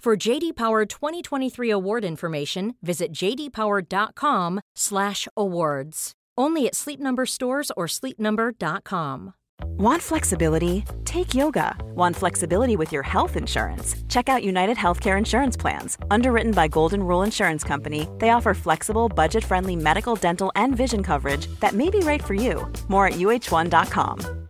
For JD Power 2023 award information, visit jdpower.com/awards. Only at Sleep Number stores or sleepnumber.com. Want flexibility? Take yoga. Want flexibility with your health insurance? Check out United Healthcare Insurance Plans. Underwritten by Golden Rule Insurance Company, they offer flexible, budget friendly medical, dental, and vision coverage that may be right for you. More at uh1.com.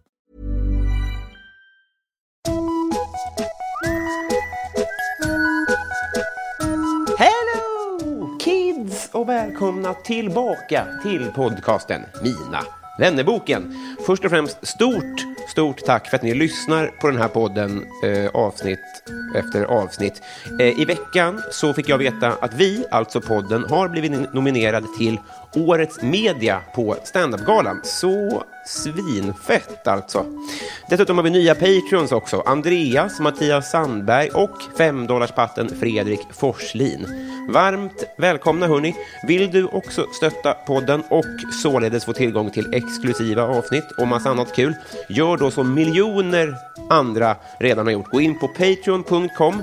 Hello kids och välkomna tillbaka till podcasten Mina vännerboken. Först och främst stort, stort tack för att ni lyssnar på den här podden eh, avsnitt efter avsnitt. Eh, I veckan så fick jag veta att vi, alltså podden, har blivit nominerade till Årets media på standup-galan. Så svinfett alltså. Dessutom har vi nya patreons också. Andreas, Mattias Sandberg och 5-dollarspatten Fredrik Forslin. Varmt välkomna hörni. Vill du också stötta podden och således få tillgång till exklusiva avsnitt och massa annat kul, gör då som miljoner andra redan har gjort. Gå in på patreon.com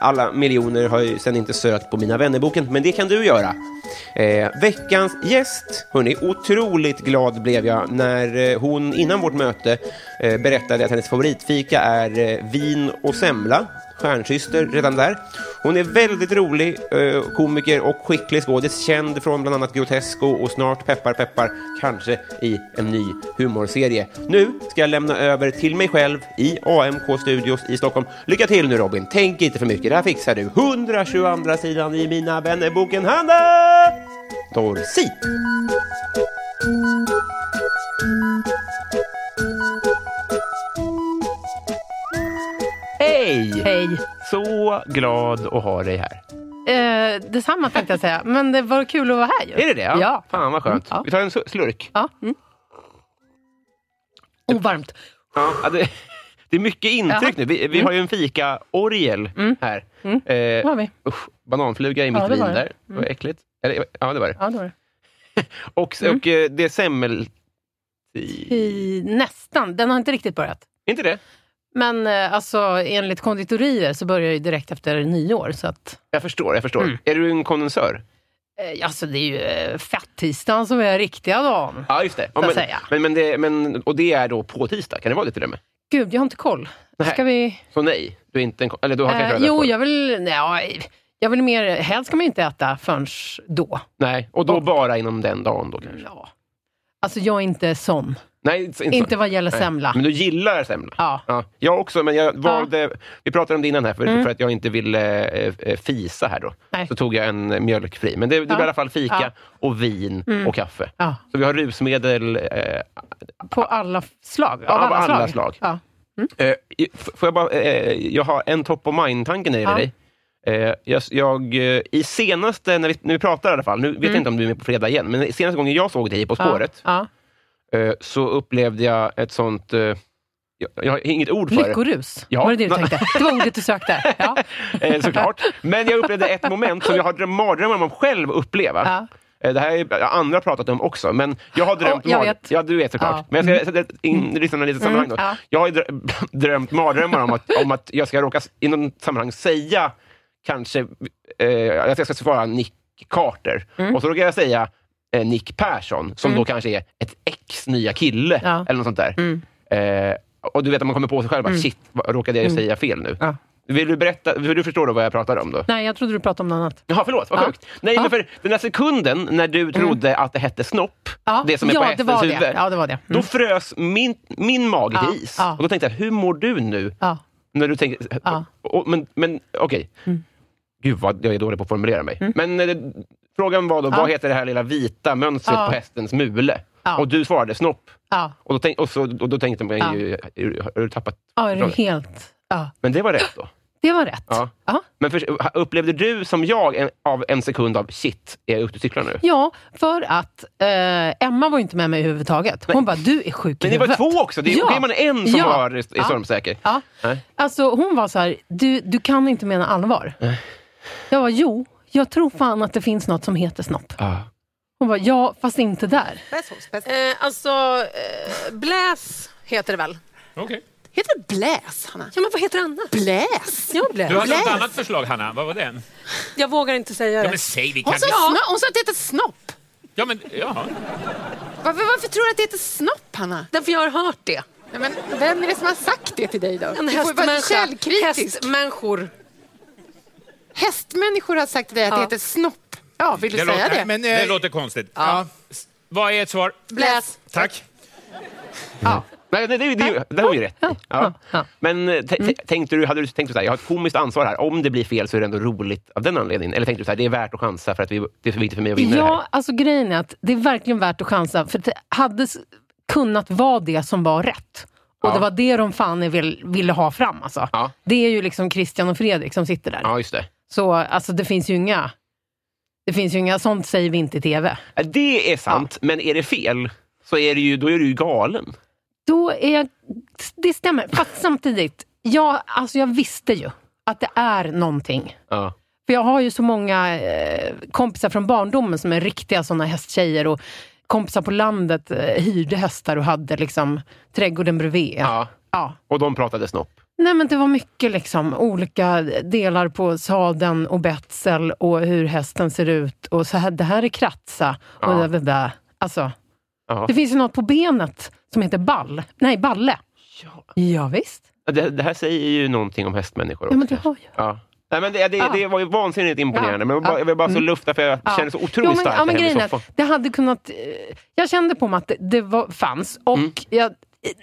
alla miljoner har ju sen inte sökt på Mina vännerboken, men det kan du göra. Eh, veckans gäst, hörni, otroligt glad blev jag när eh, hon innan vårt möte eh, berättade att hennes favoritfika är eh, vin och semla. Stjärnsyster redan där. Hon är väldigt rolig eh, komiker och skicklig skådis, känd från bland annat Grotesco och snart Peppar Peppar, kanske i en ny humorserie. Nu ska jag lämna över till mig själv i AMK Studios i Stockholm. Lycka till nu Robin, tänk inte för mycket, det här fixar du. 122 sidan i Mina vännerboken Hanna Dorsi. Hej! Hej. Så glad att ha dig här. Eh, detsamma tänkte jag säga. Men det var kul att vara här ju. Är det det? Ja. Fan vad skönt. Mm, Vi tar en su- slurk. ja. Mm. Oh, varmt. Ja, det, det är mycket Ja. intryck nu. Vi, Mm. vi har ju en fika-orgel här. Eh, Det har vi. usch, bananfluga i mitt Mm. Ja, det vin var det. Mm. där. Det var äckligt. Eller, ja, det var det. Ja, det var det. Och, Mm. och eh, det är semmel... I, I, nästan. Den har inte riktigt börjat. inte det? Men eh, alltså, enligt konditorier så börjar ju direkt efter nyår. Så att, Jag förstår, jag förstår. Mm. Är du en kondensör? eh, alltså, det är ju eh, fettisdagen som är riktiga dagen. Ja, just det. Ja, Så men, att säga. men, men det men, och det är då på tisdag? Kan det vara det till och med? Gud, jag har inte koll. Nej. Ska vi... Så nej, du är inte en... ko- Eller du har kanske Eh, röda jo, skor. jag vill... Nej, ja, jag vill mer... Helst ska man ju inte äta förrän då. Nej, och då bara inom den dagen då kanske? Ja. Alltså, jag är inte sån. Nej, inte, så. Inte vad gäller Nej. semla. Men du gillar semla? Ja. Ja, jag också, men jag valde... Vi pratade om det innan här, för, för att jag inte ville eh, eh, fisa här då. Mm. Nej. Så tog jag en eh, mjölkfri. Men det, det blev i alla fall fika Ja. Mm. och vin och kaffe. Ja. Så vi har rusmedel. Eh, På alla f- slag? Av Av alla, alla slag? slag. Ja. eh, i- f- får jag bara... Eh, jag har en top of mind-tanke när det gäller Ja. dig. Eh, jag, jag, eh, I senaste, när vi, när vi pratar i alla fall, nu vet jag inte om du är med på fredag igen, men senaste gången jag såg dig På spåret, Mm. Ja. eh, så upplevde jag ett sånt... Eh, jag, jag har inget ord för det. Lyckorus, Ja. var det det du tänkte? Det var ordet du sökte. Ja. Eh, såklart. Men jag upplevde ett moment som jag har dröm- mardrömmar om att själv uppleva. Ja. Eh, Det här är- har andra pratat om också, men jag har drömt... Åh, jag mard- vet. Ja, du vet såklart. Ja. Men jag ska sätta in lyssnarna i lite sammanhang. då. Mm, ja. Jag har ju drö- drömt mardrömmar om att, om att jag ska råka s- i något sammanhang säga kanske... Eh, att jag ska svara Nick Carter. Mm. Och så råkar jag säga eh, Nick Persson, som då kanske är ett ex nya kille, Ja. Mm. eller något sånt där. Eh, och du vet att man kommer på sig själv, bara, shit, vad- råkade jag säga fel nu? Mm. Ja. Vill du, berätta, vill du förstå då vad jag pratar om? då? Nej, jag trodde du pratade om något annat. Jaha, förlåt. Vad Ja. Mm. sjukt. Nej, men för den där sekunden när du trodde att det hette snopp, Ja, det som är ja, på det hästens var det. huvud, Ja, det Mm. var det. då frös min, min mage Ja, till is. ja. Och då tänkte jag, hur mår du nu? Ja. När du tänker, Ja. Mm. och, men men okej. Gud, vad jag är dålig på att formulera mig. Men eh, frågan var då, vad heter det här lilla vita mönstret Ja. på hästens mule? Ja. Och du svarade snopp. Ja. Och då, tänk, och så, och då tänkte man Ja. ju, har du tappat ja, är du förståndet? helt... Ja. Men det var rätt då. Det var rätt. Ja. Ja. Men för, upplevde du som jag en, av en sekund av shit, är jag ute och cyklar nu? Ja, för att eh, Emma var ju inte med mig överhuvudtaget. Hon bara, du är sjuk i Men det var huvudet. två också! Det är okej om man är en som Ja. var är stormsäker. Ja. Nej. Alltså, hon var så här, du, du kan inte mena allvar. Jag var jo, jag tror fan att det finns något som heter snopp. Ja. Hon var ja, fast inte där. Eh, alltså, eh, bläs heter det väl? Okej. Heter det bläs, Hanna? Ja, men vad heter Anna? Bläs? Ja, bläs. Du hade ett bläs. annat förslag, Hanna. Vad var den? Jag vågar inte säga Ja, det. men säg, vi kan Hon sa, inte... snopp, hon sa att det heter snopp. Ja, men, ja. Varför, varför tror du att det heter snopp, Hanna? Därför jag har hört det. Nej, men vem är det som har sagt det till dig då? En du får ju vara hästmänniska. källkritisk. Hästmänniskor. Hästmänniskor har sagt till dig att det heter snopp. Ja, vill du Det, säga låter, det? Men, eh, det låter konstigt. Ja. S- Vad är ett svar? Bläs. Tack. Nej, nej, det, det, det har hon ju rätt i. ja. ja. Mm. Men eh, t- t- tänkte du, hade du tänkt så här, jag har ett komiskt ansvar här. Om det blir fel så är det ändå roligt av den anledningen. Eller tänkte du så här, det är värt att chansa för att vi, det är för viktigt för mig att vinna det här. Ja, alltså grejen är att det är verkligen värt att chansa. För det hade s- kunnat vara det som var rätt. Och Ja. det var det de fan är vill, ville ha fram. Alltså. Ja. Det är ju liksom Christian och Fredrik som sitter där. Ja, just det. Så alltså, det finns ju inga... Det finns ju inga, sånt säger vi inte i TV. Ja, Äh, Det är sant, men är det fel så är det ju, då är du ju galen. Då är jag, det stämmer. Fast samtidigt, jag, alltså jag visste ju att det är någonting. Ja. För jag har ju så många eh, kompisar från barndomen som är riktiga såna hästtjejer och kompisar på landet eh, hyrde hästar och hade liksom trädgården bredvid. Ja. Ja. Och de pratade snopp. Nej men det var mycket liksom olika delar på sadeln och betsel och hur hästen ser ut och så här, det här är kratsa och Ja. det där, det där. Alltså, Ja. det finns ju något på benet som heter ball. Nej, balle. Ja. Ja, visst. Det, det här säger ju någonting om hästmänniskor Ja, också. men du har ju. Ja. Nej, men det, det, Ja. det var ju vansinnigt imponerande. Ja. Men jag, bara, Ja. jag vill bara så lufta, för jag Ja. känner så otroligt Jo, men, starkt ja, men här grejen hemma är, i soffan. att det hade kunnat... eh, Jag kände på mig att det, det var, fanns och Mm. jag,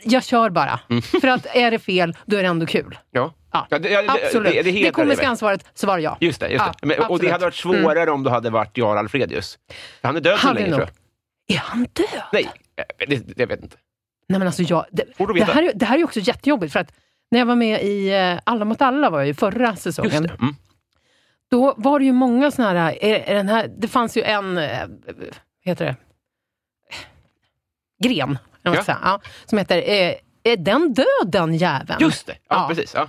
jag kör bara. För att är det fel, då är det ändå kul. Ja. Ja, Ja, Mm. det- ja, det- absolut. det- det Det, heter komiska det. ansvaret, svar ja. Just det. Just Ja, det. Men, och det absolut. Mm. hade varit svårare om du hade varit Jarl Alfredius. Han är död så Hade länge, nog. tror jag. Är han död? Nej, eh, det, det, jag vet inte. Nej, men alltså jag, det, Borde det, veta. här, är- det här är ju också jättejobbigt. För att när jag var med i eh, Alla mot alla var jag ju förra säsongen. Just det. Mm. Då var det ju många såna här, är, är den här... Det fanns ju en... eh, Vad heter det? Gren, eller vad man Ja. ska säga, ja, som heter eh, Är den död den jäveln? Just det. Ja, Ja. precis. Ja.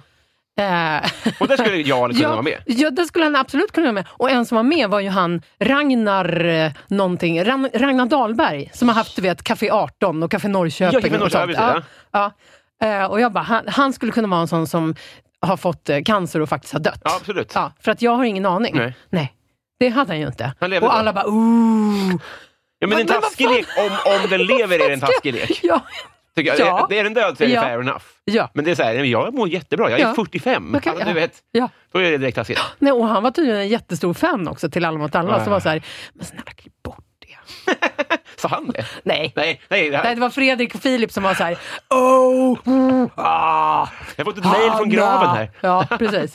Eh, Och där skulle Jarl kunna ja, vara med. Ja, det skulle han absolut kunna vara med. Och en som var med var ju han Ragnar eh, någonting, Ran- Ragnar Dahlberg, som har haft du vet, Café 18 och Café Norrköping. Ja, Café och sånt. Norrköping, ja, ja. Eh, och jag bara, han, han skulle kunna vara en sån som har fått eh, cancer och faktiskt har dött. Ja, absolut. Ja, för att jag har ingen aning. Nej. Det hade han ju inte. Han levde och då. alla bara, ooh. Ja, men en Men- men vad taskig lek, om, om den lever är det en taskig lek. Ja, Tycker jag. Ja. Är, är den död så är det Ja. fair enough. ja. Men det är så här, jag mår jättebra, jag är Ja. 45. Okej, alltså, du ja. vet, ja. då är det direkt taskigt. Nej, och han var tydligen en jättestor fan också till Alla mot Ah. alla. Så var så här, men snälla klipp bort det. Sa han det? Nej. Nej, nej, det här- Nej, det var Fredrik och Filip som var så här, oh, mm, ah, jag har fått ett mejl från graven här. Ja, precis.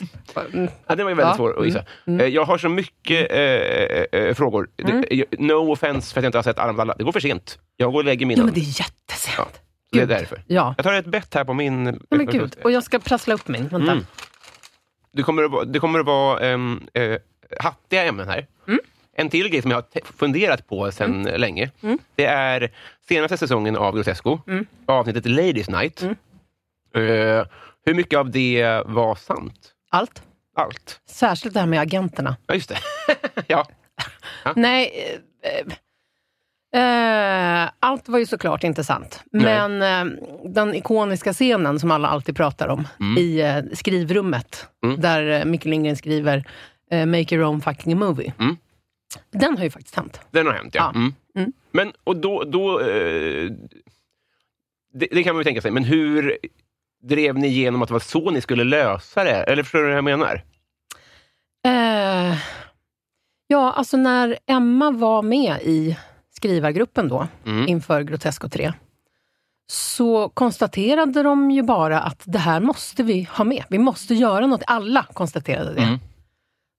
Mm. Ja, det var ju väldigt Ja. Mm. svårt att gissa. Eh, Jag har så mycket eh, eh, eh, frågor. Det- Mm. eh, No offense för att jag inte har sett Alla mot alla. Det går för sent. Jag går och lägger mina. Ja, men det är jättesent. det är Gud. därför. Ja. Jag tar ett bett här på min... Nej, men gud. Och jag ska prassla upp min. Vänta. Mm. Det kommer att vara, det kommer att vara ehm, eh, hattiga ämnen här. Mm. En till grej som jag har te- funderat på sedan länge. Mm. Det är senaste säsongen av Grotesco, avsnittet Ladies Night. Mm. Eh, hur mycket av det var sant? Allt. Allt? Särskilt det här med agenterna. Ja, just det. ja. Nej, eh, eh, allt var ju såklart inte sant. Nej. Men eh, den ikoniska scenen som alla alltid pratar om Mm. i eh, skrivrummet, där eh, Micke Lindgren skriver eh, “Make your own fucking movie”. Mm. Den har ju faktiskt hänt. Den har hänt, ja. Ja. Mm. Mm. Men, och då... då eh, det, det kan man ju tänka sig, men hur drev ni igenom att det var så ni skulle lösa det? Eller förstår du vad jag menar? Eh, ja, alltså när Emma var med i skrivargruppen då, Mm. inför Grotesco 3, så konstaterade de ju bara att det här måste vi ha med. Vi måste göra något. Alla konstaterade det. Mm.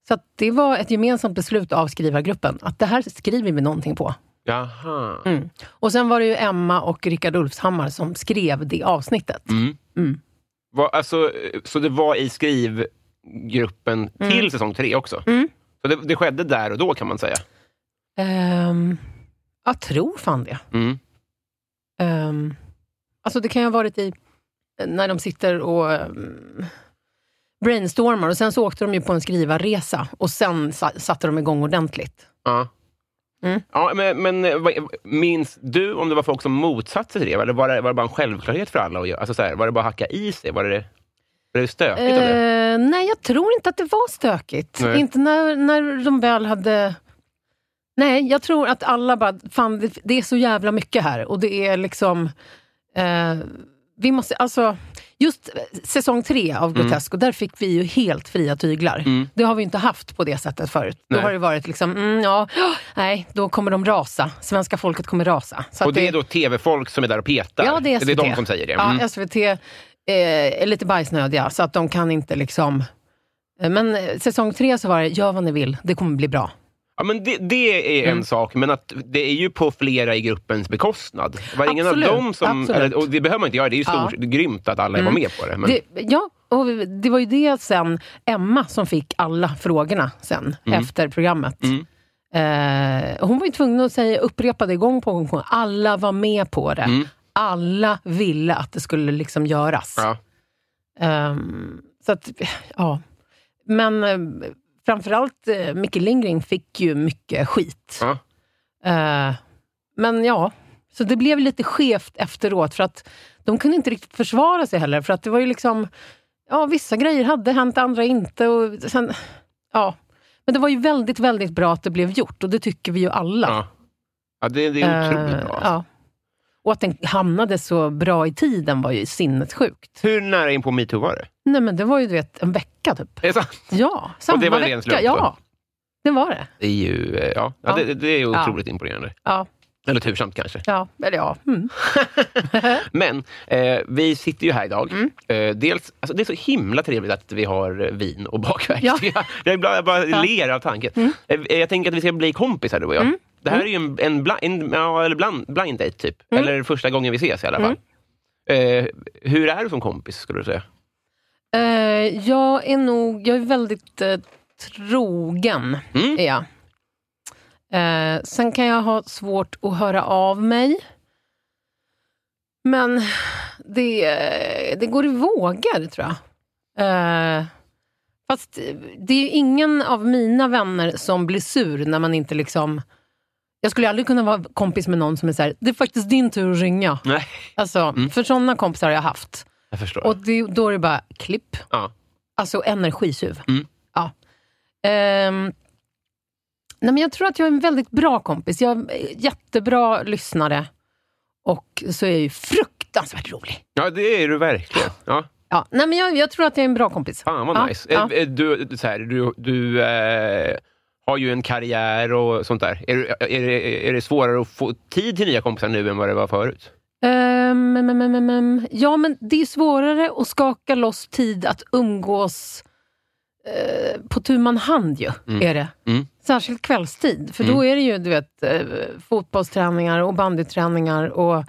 Så att det var ett gemensamt beslut av skrivargruppen, att det här skriver vi någonting på. Jaha. Och sen var det ju Emma och Rickard Ulfshammar Mm. som skrev det avsnittet. Var, alltså, eh, så det var i skriv... gruppen Mm. till säsong tre också. Så det, det skedde där och då kan man säga. Ehm, jag tror fan det. Mm. Ehm, alltså det kan ju ha varit i när de sitter och ehm, brainstormar och sen så åkte de ju på en skrivarresa och sen sa, satte de igång ordentligt. Ja. Mm. Ja, men, men eh, vad- minns du om det var folk som motsatte sig det? Eller var det, var det bara en självklarhet för alla? Att göra? Alltså så här, var det bara att hacka i sig? Var det, var det stökigt? av det? Eh, nej, jag tror inte att det var stökigt. Nej. Inte när, när de väl hade... Nej, jag tror att alla bara, fan det, det är så jävla mycket här och det är liksom... Eh, vi måste, alltså, just säsong tre Mm. av Grotesco, där fick vi ju helt fria tyglar. Det har vi inte haft på det sättet förut. Nej. Då har det varit liksom, mm, ja, ja, nej, då kommer de rasa. Svenska folket kommer rasa. Så Och att det är då tv-folk som är där och petar? Ja, det är SVT. det är de som säger det? Mm. Ja, SVT eh, är lite bajsnödiga, så att de kan inte liksom... Eh, Men eh, säsong tre så var det, gör vad ni vill, det kommer bli bra. Ja, men det, det är en Mm. sak, men att det är ju på flera i gruppens bekostnad. Var det ingen av Absolut, dem som... absolut. Mm. Eller, och det behöver man inte göra, det är ju stor, det är grymt att alla var med på det. Men, Det, ja, och det var ju det sen Emma som fick alla frågorna sen, Mm. efter programmet. Eh, hon var ju tvungen att säga, upprepa det gång på gång. Alla var med på Mm. det. Alla ville att det skulle liksom göras. ja. Ehm, så att, ja. Men eh, framförallt eh, Micke Lindgren fick ju mycket skit. Ja. Eh, men ja, så det blev lite skevt efteråt för att de kunde inte riktigt försvara sig heller. För att det var ju liksom, ja vissa grejer hade hänt, andra inte. Och sen, ja. Men det var ju väldigt, väldigt bra att det blev gjort och det tycker vi ju alla. Ja. Ja, det, det är otroligt Eh, bra. alltså. ja. Och att den hamnade så bra i tiden var ju sinnessjukt. Hur nära in på metoo var det? Nej men det var ju du vet, en vecka typ. Är det sant? Ja, samma det var en vecka. ren slump ja, då? det var det. Det är ju eh, ja. Ja, Ja. det, det är ju Ja. otroligt imponerande. Ja, Eller tursamt kanske. ja, eller ja. Mm. Men eh, vi sitter ju här idag. Mm. Eh, dels, alltså, det är så himla trevligt att vi har eh, vin och bakverk. Ja. Mm. Jag, jag, ibland- jag bara ler av tanken. Eh, eh, jag tänker att vi ska bli kompisar du och jag. Det här är ju en, en, bla, en ja, eller bland, blind date typ. Mm. Eller första gången vi ses i alla fall. Eh, hur är du som kompis skulle du säga? Eh, jag är nog, jag är väldigt eh, trogen. Mm. Är jag. Eh, sen kan jag ha svårt att höra av mig. Men det, eh, det går i vågor, tror jag. Eh, fast det är ju ingen av mina vänner som blir sur när man inte liksom... Jag skulle aldrig kunna vara kompis med någon som är så här, det är faktiskt din tur att ringa. Nej, Alltså, För sådana kompisar har jag haft. jag förstår. Och det, då är det bara klipp. ja. Alltså energitjuv. Mm. Ja. Ehm, nej men jag tror att jag är en väldigt bra kompis. Jag är en jättebra lyssnare. Och så är jag ju fruktansvärt rolig. ja, det är du verkligen. Ja. Ja, nej men jag, jag tror att jag är en bra kompis. Fan vad Ja, nice. ja. Eh, eh, Du, så här, du, du eh, har ju en karriär och sånt där. Är, du- är, det- är det svårare att få tid till nya kompisar nu än vad det var förut? Ehm, mm, mm, mm, mm. Ja, men det är svårare att skaka loss tid att umgås eh, på tu man hand ju, är det. Mm. Särskilt kvällstid, för då är det ju du vet, eh, fotbollsträningar och bandyträningar och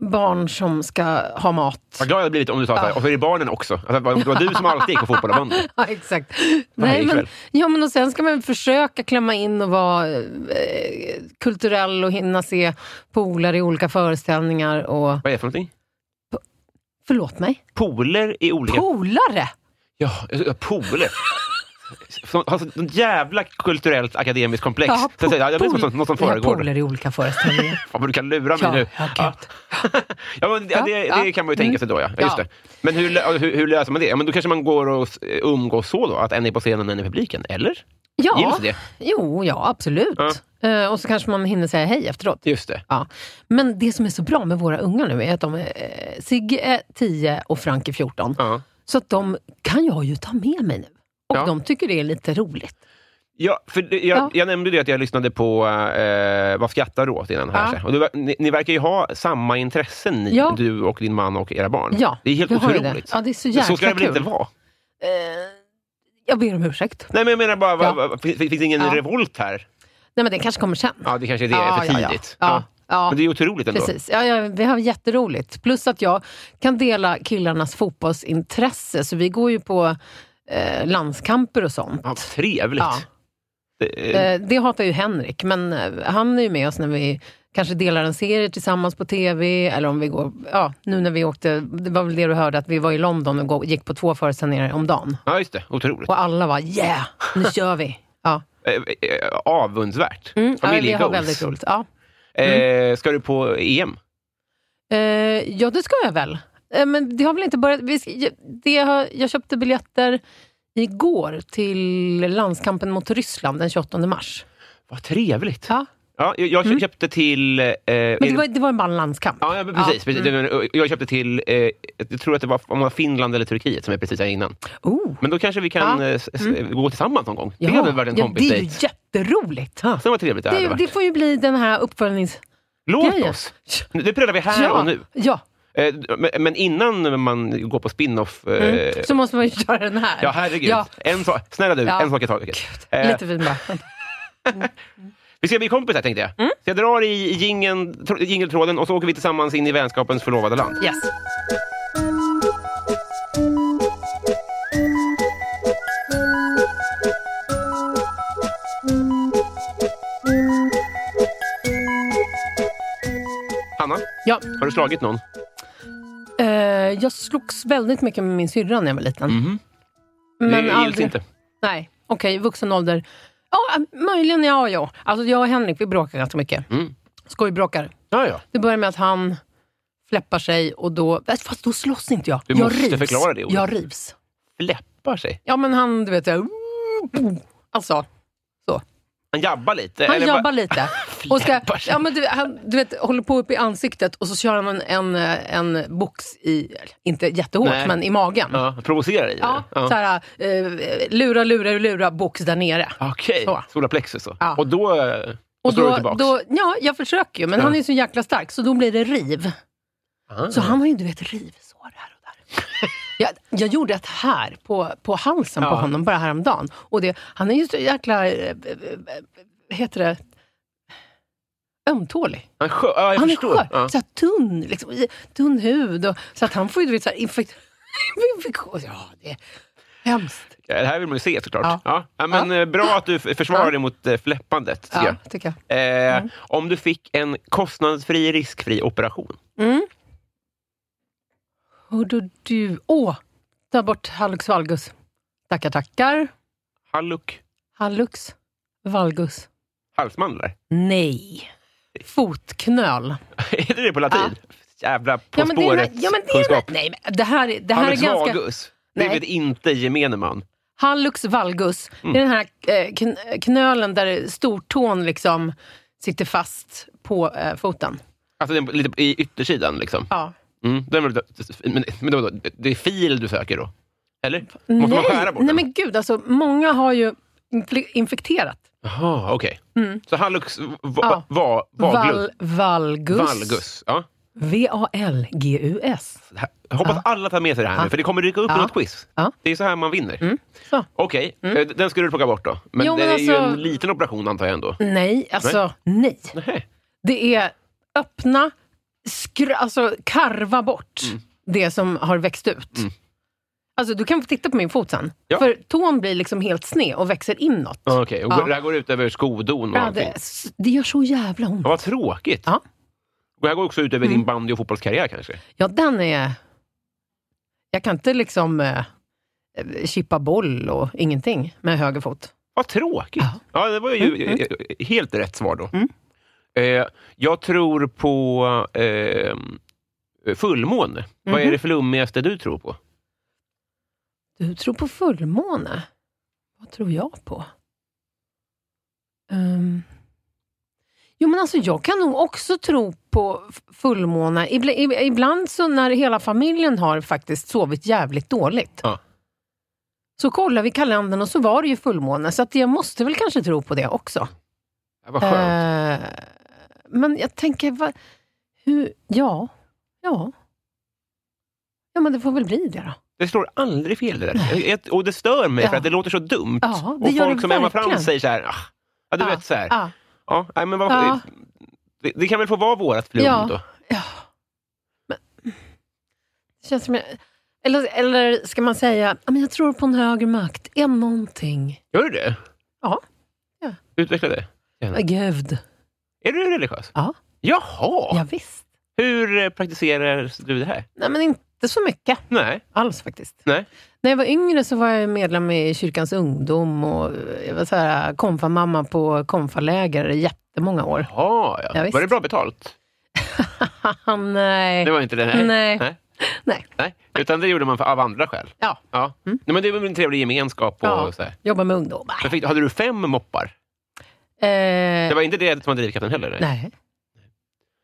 barn som ska ha mat. Vad glad jag hade blivit om du sa så här, och så är det barnen också. Alltså, det var du som alltid gick på fotboll och bandy. Ja, exakt. Varje Nej, men, kväll. ja, men och sen ska man försöka klämma in och vara eh, kulturell och hinna se polare i olika föreställningar. Och, Vad är det för någonting? förlåt mig? Poler i olika... Polare! ja, jag sa poler. Så- Alltså, något jävla kulturellt akademiskt komplex. Ja, Så jag säger, ja, jag vet pol- något som, något som Vi har föregår. poler i olika föreställningar. Fan vad du kan lura mig Ja, nu. ja, ja, men det, Ja, det, ja. Mm. det kan man ju tänka sig då, ja. ja. Just Ja. det. Men hur, lö- hur, hur löser man det? Ja, men då kanske man går och eh, umgås så då, att en är på scenen och en är i publiken, eller? ja. Gills det? Jo, ja absolut. Eh, och så kanske man hinner säga hej efteråt. Just det. Ja. Men det som är så bra med våra ungar nu är att de är, eh, Sigge är 10 och Frank är 14. Ja. Så att de kan jag ju ta med mig nu. Och Ja. de tycker det är lite roligt. Ja, för det, jag, Ja. jag nämnde det att jag lyssnade på eh, Vad skrattar du åt innan här. Ja. så här. Och du, ver- ni, ni verkar ju ha samma intressen, ni, Ja. du och din man och era barn. Ja, Mm. det är helt vi har ju otroligt. det. Ja, det är så jäkla så ska det väl kul. inte vara? Eh, jag ber om ursäkt. Nej, men jag menar bara, va, Ja. va, finns, finns det ingen Ja. revolt här? Nej, men det kanske kommer sen. Ja, det kanske är det, Ja, för ja, ja. tidigt. Ja, ja. Men det är otroligt ändå. Precis. Ja, ja, vi har jätteroligt. Plus att jag kan dela killarnas fotbollsintresse, så vi går ju på eh, landskamper och sånt. Ja, trevligt. Ja. Det, eh, Eh, det hatar ju Henrik, men eh, han är ju med oss när vi kanske delar en serie tillsammans på TV, eller om vi går... Ja, nu när vi åkte, det var väl det du hörde, att vi var i London och gå- gick på två föreställningar om dagen. ja, just det. Otroligt. Och alla var yeah, nu kör vi! Ja. Eh, eh, avundsvärt. Mm, ja, vi har Familjegoals. väldigt roligt. Mm. Ja. Eh, ska du på EM? Eh, ja, det ska jag väl. Eh, men det har väl inte börjat... Vi, ska- jag- det har, jag köpte biljetter igår till landskampen mot Ryssland den 28 mars. Vad trevligt. Ja. Mm. Ja, jag jag köpte till... Eh, Men det var, Mm. det var bara en landskamp. Ja, ja, men precis. precis. Det var- Jag köpte till, eh, jag tror att det var, om det var Finland eller Turkiet som är precis här innan. Oh. Men då kanske vi kan Ja. Mm. eh, s- s- gå tillsammans någon gång. Ja, Det hade väl varit en ja, det är ju kompisdejt. jätteroligt. Så vad trevligt det, hade Det, varit. det får ju bli den här uppföljnings... Låt grejen. oss! Det prövar vi här ja, och nu. Ja, Eh, men- Men innan man går på spin-off... eh, så måste man ju köra den här. Ja, herregud. Mm. Ja, En sak- snälla du, Ja. en sak i taget. Eh, lite fin bara. Vi ska bli kompisar tänkte jag. Mm. Så jag drar i jingeln- tr- jingeltråden och så åker vi tillsammans in i vänskapens förlovade land. Yes. Hanna, Ja, har du slagit någon? eh, jag slogs väldigt mycket med min syrra när jag var liten. Mhm. det gills inte. Nej, okej, vuxen ålder. Ja, möjligen ja och ja. Alltså jag och Henrik, vi bråkar ganska mycket. Mm. Skojbråkar. Ja, ja. Det börjar med att han fläppar sig och då... Fast då slåss inte jag. Du jag måste rivs. förklara det ordet. Jag rivs. Fläppar sig. Ja, men han, du vet... Jag, alltså, Han jabbar lite. han eller jobbar bara- lite. Och ska, Fläppar sig. ja, men du, han du vet, håller på upp i ansiktet och så kör han en, en, en box i, inte jättehårt, Nej. men i magen. Ja. Ja, provocerar i det. Ja. Så här, eh, lura, lura, lura, box där nere. Okej, Så. solarplexus då. Ja. Och då, eh, då Och slår du då, tillbaka. då, ja, jag försöker ju, men han är så jäkla stark, så då blir det riv. Ah. Så han har ju, du vet, rivsår här och där. Jag, jag gjorde ett här på, på halsen på Ja. honom bara häromdagen. Och det, han är ju så jäkla, eh, eh, eh, heter det, ömtålig. Han är skör. Ja, jag han är förstår. skör. Ja. Så här tunn, liksom, i- tunn hud. Och, så att han får ju, du vet, så här infekt, infektion. Ja, det är hemskt. Ja, Det här vill man ju se såklart. Ja. Ja. Ja. men, eh, Bra att du f- försvarar Ja. dig mot eh, fläppandet. tycker Ja, Mm. jag. tycker jag. Eh, Om du fick en kostnadsfri, riskfri operation. Mm. Och då du, åh, ta bort hallux valgus. Tackar, tackar. Halluk, Hallux valgus. halsmandlar. Nej. Fotknöl. är det det på latin? Jävla På Ja, men det är, spåret den- ja, men det, är, kunskap. den- nej, men det här, är- det här är Hallux ganska... vagus. Det Nej. vet inte gemene man. Hallux valgus. Det är Mm. den här eh, kn- knölen där stortån liksom sitter fast på eh, foten. Alltså den, lite i yttersidan liksom. Ja. Mm. Den, men men då, det är fil du söker då? Eller? Måste man skära bort nej den? men gud, alltså, många har ju infle- infekterat. Jaha, okej. Så hallux va, Mm. Ja. va, Val, vaglus. valgus. Valgus. Ja. V-A-L-G-U-S. Det här- Jag hoppas alla tar med sig det här nu, Ja. för det kommer dyka upp i Ja. något quiz. Ja. Mm. Det är så här man vinner. Så. Mm. Okej, eh, den skulle du plocka bort då. Men Jo, det men är ju alltså- en liten operation antar jag ändå. Nej, alltså nej. Nähä. Det är öppna, skr- alltså karva bort det som har växt ut. Alltså du kan få titta på min fot sen. Ja. För tån blir liksom helt sned och växer inåt. Ah, Okej, och Ja. det här går ut över skodon och Ja, allting. det, s- det gör så jävla ont. Ja, vad tråkigt. Ja. Mm. Det här går också ut över din bandy och fotbollskarriär kanske. Ja, den är... Jag kan inte liksom eh, chippa boll och ingenting med höger fot. Vad tråkigt. Ja, Ja. Mm, det var ju eh, helt rätt svar då. Eh, jag tror på eh, fullmåne. Vad Mhm. är det flummigaste du tror på? Du tror på fullmåne. Vad tror jag på? Ehm. Jo, men alltså jag kan nog också tro på f- fullmåne. Ibla, ib- ibland så när hela familjen har faktiskt sovit jävligt dåligt, Ja. så kollar vi kalendern och så var det ju fullmåne. Så att jag måste väl kanske tro på det också. Ja, Vad skönt. Eh, men jag tänker, vad, hur, ja, ja. Ja, men det får väl bli det då. Det Det slår aldrig fel det där. Jag- Och det stör mig för Ja. att det låter så dumt. Ja, det och gör folk det som Emma verkligen. Frans säger så här, ah, ja du vet så här. Ja, Ja, nej, men vad, Ja. det, det kan väl få vara vårat flum Ja. då? ja. Men, det känns som jag, Eller, eller ska man säga, "Ja, men jag tror på en högre makt, en någonting. Gör du det? Ja. Ja. Utveckla det. Ja, Gud. Är du religiös? Ja. Jaha! Ja, visst. Hur eh, praktiserar du det här? Nej, men inte så mycket Nej. alls faktiskt. Nej. När jag var yngre så var jag medlem i kyrkans ungdom och jag var så här eh, konfamamma på konfaläger i jättemånga år. Jaha, ja. Ja, visst. var det bra betalt? Nej. Det var inte det? Nej. Nej. Nej. eh, Nej. Nej. Utan det gjorde man för, av andra skäl? Ja. Mm. ja. Nej, men det var väl en trevlig gemenskap? Och Ja. så här. Jobba med ungdomar. Men fick, hade du fem moppar? Eh, Det var inte det som var drivkraften heller? Nej.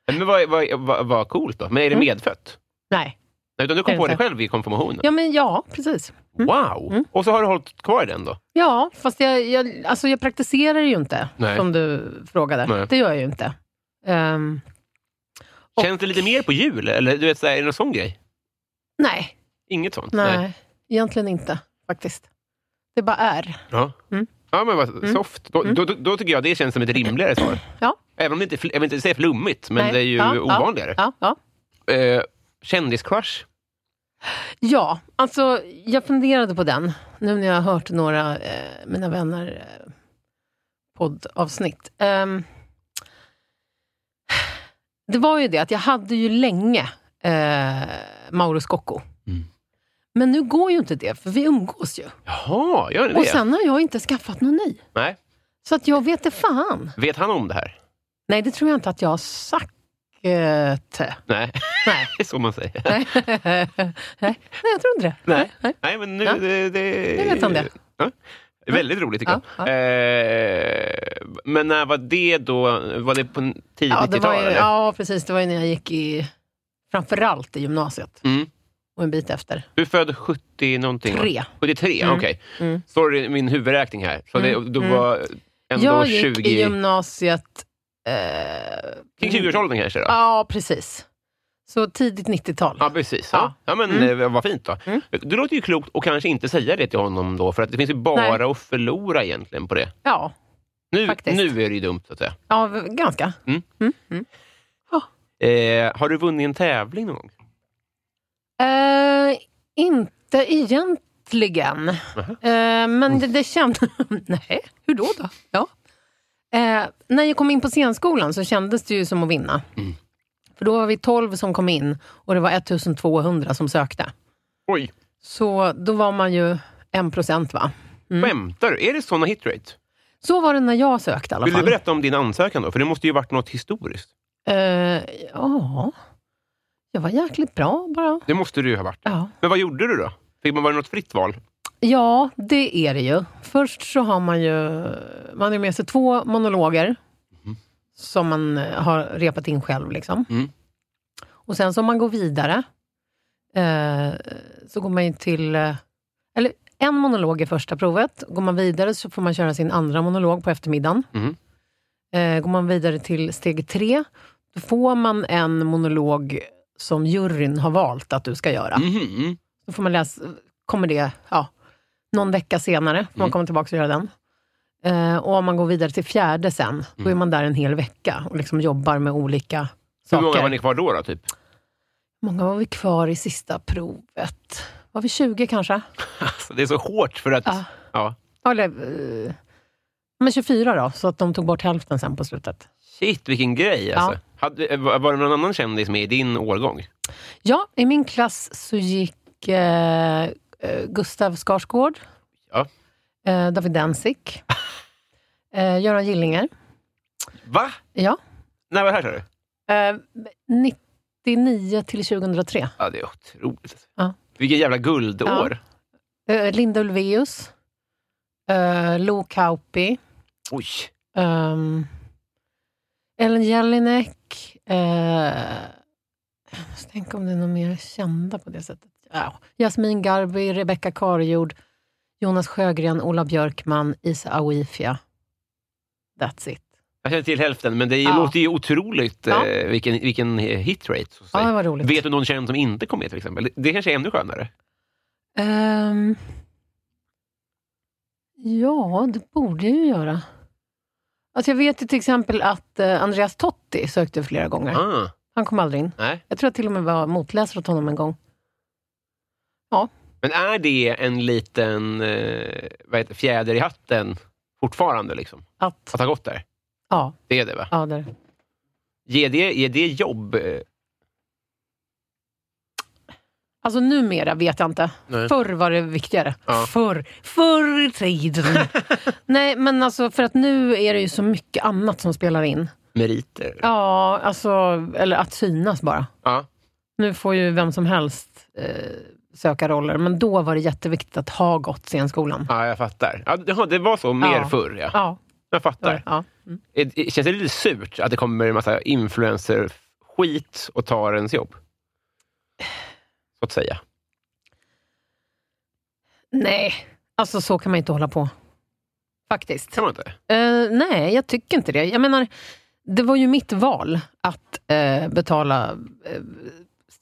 Men vad, vad, vad, vad coolt då. Men är det medfött? Nej. Nej, utan du kom Mm. på Är det det inte? själv i konfirmationen? Ja, Mm. men ja, precis. Wow! Och så har du hållit kvar i den då? Ja, fast jag, jag, alltså jag praktiserar ju inte, Nej. som du frågade. Nej. Det gör jag ju inte. Ehm, Och- Känns det lite mer på jul? Eller du vet, så här, är det någon sån grej? nej, Inget sånt? nej, egentligen inte faktiskt. Det bara är. Ja. Mm. ja, men vad soft. Då, då, då, då tycker jag det känns som ett rimligare svar. Ja. Även om det inte, är fl- jag vill inte säga flummigt, men nej. det är ju ja, ovanligare. Ja, ja, Eh, kändiscrush? ja, alltså jag funderade på den, nu när jag har hört några eh, mina vänner eh, poddavsnitt. Ehm, det var ju det att jag hade ju länge eh, Mauro Scocco. Mm. Men nu går ju inte det, för vi umgås ju. Jaha, gör ni det? Och sen har jag inte skaffat någon ny. Nej. Så att jag vet det fan. Vet han om det här? Nej, det tror jag inte att jag har sagt. eh, Nej, Nej. det är så man säger. Nej. Nej, jag tror inte det. Nej. Nej, men nu... Ja. Det, det... Nu vet han det. Ja. Väldigt roligt tycker Ja, jag. Eh, men när var det då? Var det på en tidigt Ja, det 90-tal? var ju, eller? ja, precis. Det var ju när jag gick i, framförallt i gymnasiet. Mm. Och en bit efter. Du är född 70 någonting? va? Tre. 73, Mm. okej. Mm. Sorry, min huvudräkning här. Så det, Mm, du mm. var ändå jag gick 20... i gymnasiet... Eh, Kring 20-årsåldern kanske? Då? Ja, precis. Så tidigt 90-tal. Ja, precis. Ja. Mm. Ja. Ja, men eh, vad fint då. Det låter ju klokt att kanske inte säga det till honom då, för att det finns ju bara att förlora egentligen på det. Ja, Nu, Faktiskt. nu är det ju dumt, så att säga. ja v- ganska. Eh, har du vunnit en tävling någon gång? Eh, inte egentligen. Eh, men det, det kändes... Nej, hur då? då? Ja. Eh, när jag kom in på scenskolan så kändes det ju som att vinna. Mm. För då var vi 12 som kom in och det var 1200 som sökte. Oj, Så då var man ju 1 procent va? Mm. skämtar du? Är det såna hitrate? Så var det när jag sökte i alla Vill du fall. berätta om din ansökan då? För det måste ju varit något historiskt. Eh, ja, jag var jäkligt bra bara. Det måste du ju ha varit. Ja. Men vad gjorde du då? Fick man, var det något fritt val? Ja, det är det ju. Först så har man ju man har med sig två monologer som man eh, har repat in själv. Liksom. Mm. Och sen så om man går vidare eh, så går man ju till... eh, Eller en monolog i första provet. Går man vidare så får man köra sin andra monolog på eftermiddagen. Mm. Eh, går man vidare till steg tre, då får man en monolog som juryn har valt att du ska göra. Mhm. Då får man läsa, kommer det ja, någon vecka senare, får Mm. man komma tillbaka och göra den. Eh, och om man går vidare till fjärde sen, då Mm. är man där en hel vecka och liksom jobbar med olika Hur saker. många var ni kvar då? då typ? många var vi kvar i sista provet? Var vi 20 kanske? Alltså, det är så hårt för att... Ja. Ja. Eller, eh, men 24 då, så att de tog bort hälften sen på slutet. Shit, vilken grej alltså. Hade, var var det någon annan kändis med i din årgång? Ja, i min klass så gick eh, eh, Gustav Skarsgård, Ja. eh, David Danzig, eh, Göran Gillinger. Va? Ja. När var det här sa du? Eh, 99 till 2003. Ja, det är otroligt. Ja. Vilken jävla guldår. Eh, Linda Ulvaeus, eh, Lo Kauppi, Oj. ehm, Ellen Jelinek. Eh, jag måste tänka om det är någon mer kända på det sättet. Ja. Jasmin Garbi, Rebecca Karjord, Jonas Sjögren, Ola Björkman, Isa Awifia. That's it. Jag känner till hälften, men det är- Ja. låter ju otroligt Ja. eh, vilken, vilken hitrate. så att Ja, det säga. var roligt. Vet du någon känd som inte kom med till exempel? Det kanske är ännu skönare. Ehm, ja, det borde jag ju göra. Alltså jag vet ju till exempel att eh, Andreas Totti sökte flera gånger. Ah, Han kom aldrig in. nej. Jag tror jag till och med var motläsare åt honom en gång. Ja. Men är det en liten eh, vad heter, fjäder i hatten fortfarande? Liksom, Att, att ha gått där? ja, Det är det, va? ja, där. Ger det, ger det jobb? eh, Alltså numera vet jag inte. Nej. Förr var det viktigare. Ja. Förr, förr i tiden. Nej, men alltså för att nu är det ju så mycket annat som spelar in. Meriter? Ja, alltså, eller att synas bara. Ja. Nu får ju vem som helst eh, söka roller, men då var det jätteviktigt att ha gått scenskolan. Ja, jag fattar. Ja, det- det var så mer Ja. förr, ja. Ja, Jag ja, fattar. ja. Mm. Är- är- Känns det lite surt att det kommer en massa influencer-skit och tar ens jobb? Så att säga. Nej, alltså så kan man inte hålla på. Faktiskt. Kan man inte? Eh, nej, jag tycker inte det. Jag menar, det var ju mitt val att eh, betala, eh,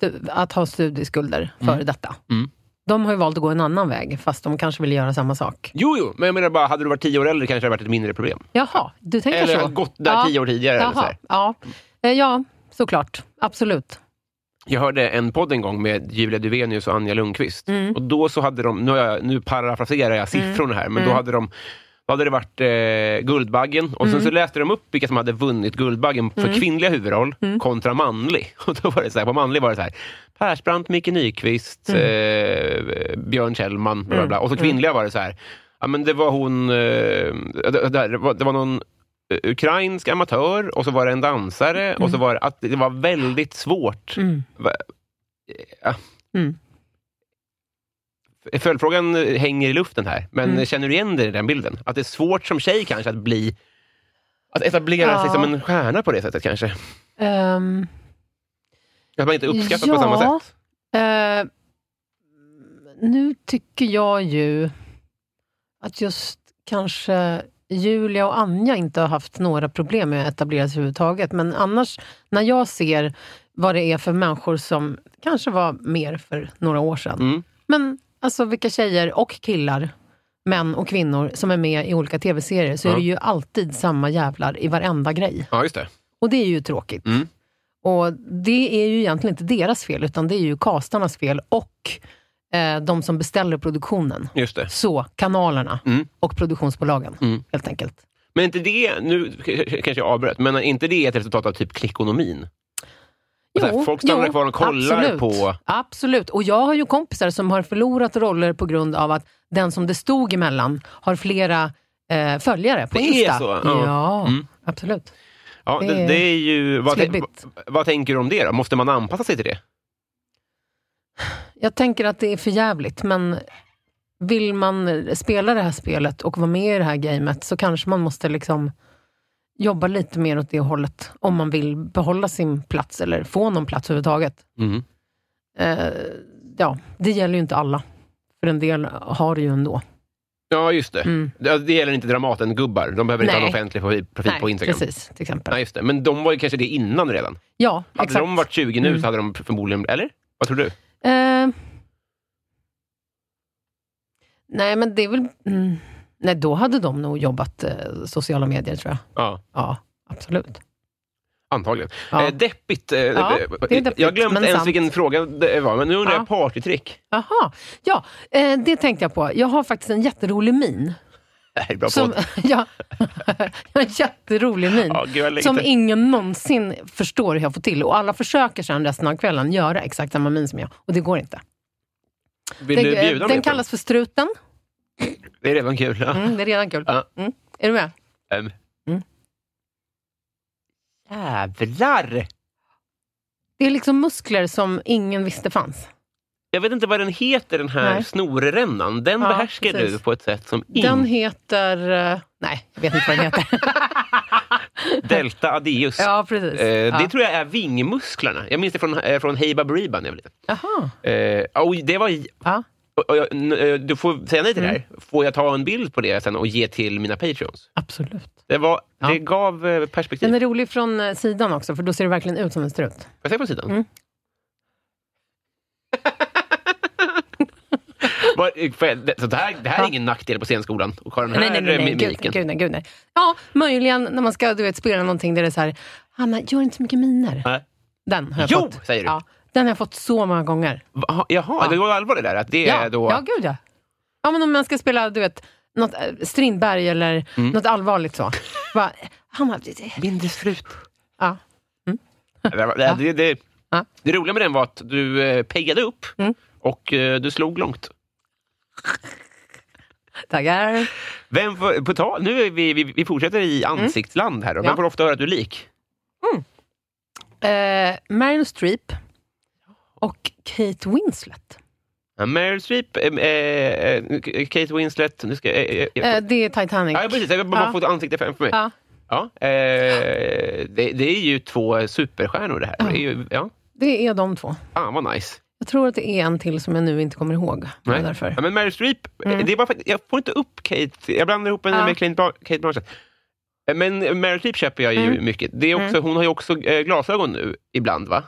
stu- att ha studieskulder för detta. Mm. De har ju valt att gå en annan väg, fast de kanske vill göra samma sak. Jo, jo, men jag menar bara, hade du varit tio år äldre kanske det hade varit ett mindre problem. Jaha, du tänker Eller så? gått där tio år tidigare. Eller så Jaha, här. ja. Eh, ja, såklart. Absolut. Jag hörde en podd en gång med Julia Duvenius och Anja Lundqvist. Och då så hade de, nu, har jag, nu parafraserar jag siffrorna här, men då hade de då hade det varit eh, Guldbaggen och sen så läste de upp vilka som hade vunnit Guldbaggen för kvinnliga huvudroll kontra manlig. Och då var det så här, på manlig var det så här, Persbrandt, Micke Nyqvist, eh, Björn Kjellman, bla, bla, bla. och så kvinnliga var det så här, ja, men det var hon, eh, det, det, det, var, det var någon eh, ukrainsk amatör och så var det en dansare och så var det, att det var väldigt svårt. Va- Ja. Mm. F- Följdfrågan eh, hänger i luften här, men Mm. känner du igen dig i den bilden? Att det är svårt som tjej kanske att bli att etablera Ja. sig som en stjärna på det sättet kanske? Ehm, Att man inte uppskattas på Ja. samma sätt? Eh, nu tycker jag ju att just kanske Julia och Anja inte har haft några problem med att etablera sig överhuvudtaget. Men annars, när jag ser vad det är för människor som kanske var mer för några år sedan. Mm. Men alltså vilka tjejer och killar, män och kvinnor som är med i olika tv-serier, så Ja. är det ju alltid samma jävlar i varenda grej. Ja, just det. Och det är ju tråkigt. Mm. Och det är ju egentligen inte deras fel, utan det är ju castarnas fel och eh, de som beställer produktionen. Just det. Så, kanalerna Mm. och produktionsbolagen, Mm. helt enkelt. Men inte det, nu k- k- kanske jag avbröt, men är inte det ett resultat av typ klickonomin? Och så här, Alltså, folk stannar kvar och kollar absolut, på- Absolut. Och jag har ju kompisar som har förlorat roller på grund av att den som det stod emellan har flera eh, följare på Det är Insta. så, ja. Ja, Mm. absolut. Ja, Det det, är det är ju... Vad, tän- slubbigt. vad, vad tänker du om det då? Måste man anpassa sig till det? Jag tänker att det är för jävligt, men vill man spela det här spelet och vara med i det här gamet så kanske man måste liksom jobba lite mer åt det hållet om man vill behålla sin plats eller få någon plats överhuvudtaget. Mm. Eh, ja, det gäller ju inte alla. För en del har det ju ändå. Ja, just det. Mm. Det, det gäller inte Dramaten-gubbar. De behöver inte ha Nej. en offentlig profil profil på Instagram. precis. Till exempel. Nej, just det. Men de var ju kanske det innan redan. Ja, Hade exakt. de varit 20 nu Mm. så hade de förmodligen... Eller? Vad tror du? Eh, nej, men det är väl... Mm, nej, då hade de nog jobbat eh, sociala medier, tror jag. Ja, Ja, absolut. antagligen. Ja. Eh, deppigt. Eh, Ja, eh, det är deppigt, jag glömde men ens sant. vilken fråga det var, men nu undrar Ja. jag partytrick. Aha. Ja, eh, det tänkte jag på. Jag har faktiskt en jätterolig min. Det här är bra Som, podd. ja, jag har en jätterolig min. Ja, gud, jag längtar. som ingen någonsin förstår hur jag får till. Och alla försöker sen resten av kvällen göra exakt samma min som jag. Och det går inte. Vill Den, du bjuda eh, mig den på kallas för struten. Det är redan kul. Ja. Mm, det är redan kul. Ja. Mm. Är du med? Ehm. Mm. Jävlar! Det är liksom muskler som ingen visste fanns. Jag vet inte vad den heter, den här Nej. snorrännan. Den Ja, behärskar du precis. på ett sätt som Den in... heter... eh, Nej, jag vet inte vad den heter. Delta Adius. ja, precis. Eh, ja. Det tror jag är vingmusklerna. Jag minns det från, eh, från Hey Baberiba när jag var liten. Aha. Eh, oj, det var... Ja. och- och jag- n- eh, Du får säga nej till det Mm. här. Får jag ta en bild på det sen och ge till mina patreons? Absolut. Det, var, Ja. det gav eh, perspektiv. Den är rolig från eh, sidan också, för då ser det verkligen ut som en strut. Får jag se på sidan? Mm. Var- eh, får jag- det- Så det här, det här är Ja. ingen nackdel på scenskolan, och ha den här Nej, nej, nej, eh, nej. mimiken. Gud, gud, nej, gud, nej. Ja, möjligen när man ska du vet, spela någonting där det är så här, Hanna, gör inte så mycket miner. Nej. Den har jag Jo, fått. säger du. Ja, Den har jag fått så många gånger. Va, jaha, det var allvar det där? Att det Ja, är då... ja gud ja. Ja, men om man ska spela du vet, något eh, Strindberg eller Mm. något allvarligt så. Bara, han har... Bindesfrut. Ja. Mm. Det, var- det, det, det, Ja. Mm. det roliga med den var att du eh, peggade upp och eh, du slog långt. Tackar. Vem får, på tal, nu är vi, vi, vi fortsätter i ansiktsland här. Då. Vem Mm. Ja. får ofta höra att du är lik? Eh, Meryl Streep och Kate Winslet. Ja, Meryl Streep, eh, eh, eh, Kate Winslet... Nu ska, jag- eh, eh, jag- Eh, det är Titanic. ja, precis. Jag bara ja. få ett ansikte framför mig. Ja, Ja, eh, det, det är ju två superstjärnor det här. Det är ju, ja, det är de två. fan vad nice. Jag tror att det är en till som jag nu inte kommer ihåg. Det var Nej. Därför. Ja, men Meryl Streep, eh, det är bara för att jag får inte upp Kate. Jag blandar ihop henne Mm. Ja. med Clint Bla- Kate Blanchett. Eh, Men Meryl Streep köper jag ju Mm. mycket. Det är också, Hon har ju också eh, glasögon nu ibland, va?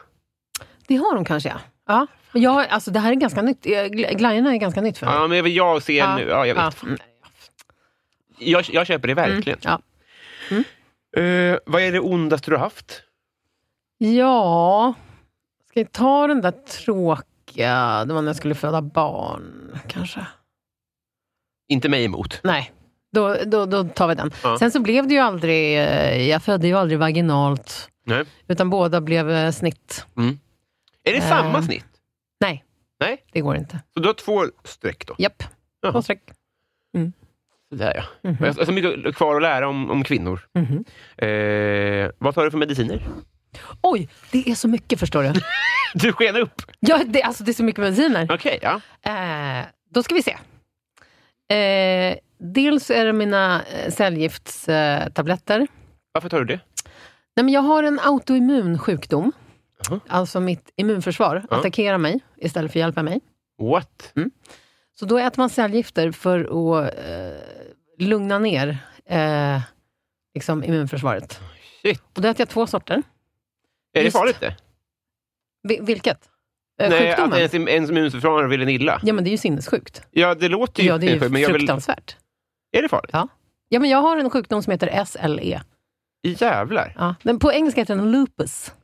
Det har de kanske, ja. ja. Men jag, har- alltså, det här är ganska nytt. Eh, gl- Glajjorna är ganska nytt för mig. Ja, men jag ser nu. Ja, jag, vet. Mm. Jag, jag köper det verkligen. Ja. Mm. Eh, vad är det ondaste du har haft? ja, ska jag ta den där tråkiga... Det var när jag skulle föda barn, kanske. Inte mig emot. Nej, då, då, då tar vi den. Ja. Sen så blev det ju aldrig... eh, Jag födde ju aldrig vaginalt, Nej. utan båda blev eh, snitt. Är det Eh. samma snitt? Nej. Nej. Det går inte. Så du har två streck då? Japp. Jaha. Två streck. Sådär, ja. Mm-hmm. Jag har så mycket kvar att lära om, om kvinnor. Mm-hmm. Eh, vad tar du för mediciner? Oj, det är så mycket förstår du. Du skenar upp. ja, det, alltså, det är så mycket mediciner. Okej, ja. Eh, då ska vi se. Eh, dels är det mina eh, cellgiftstabletter. Eh, tabletter. Varför tar du det? Nej, men jag har en autoimmun sjukdom. Jaha. Alltså mitt immunförsvar Ja. attackerar mig istället för att hjälpa mig. What? Så då äter man cellgifter för att eh, lugna ner eh, liksom immunförsvaret. Shit. Och då äter jag två sorter. Är Just. det farligt det? Vi, vilket? Eh, Nej, att Sjukdomen? ens, ens immunförsvar vill en illa. Ja, men det är ju sinnessjukt. Ja, det låter ju... Ja, det är ju men jag vill, fruktansvärt. är det farligt? Ja, men jag har en sjukdom som heter SLE. Jävlar. Ja. Men på engelska heter den lupus.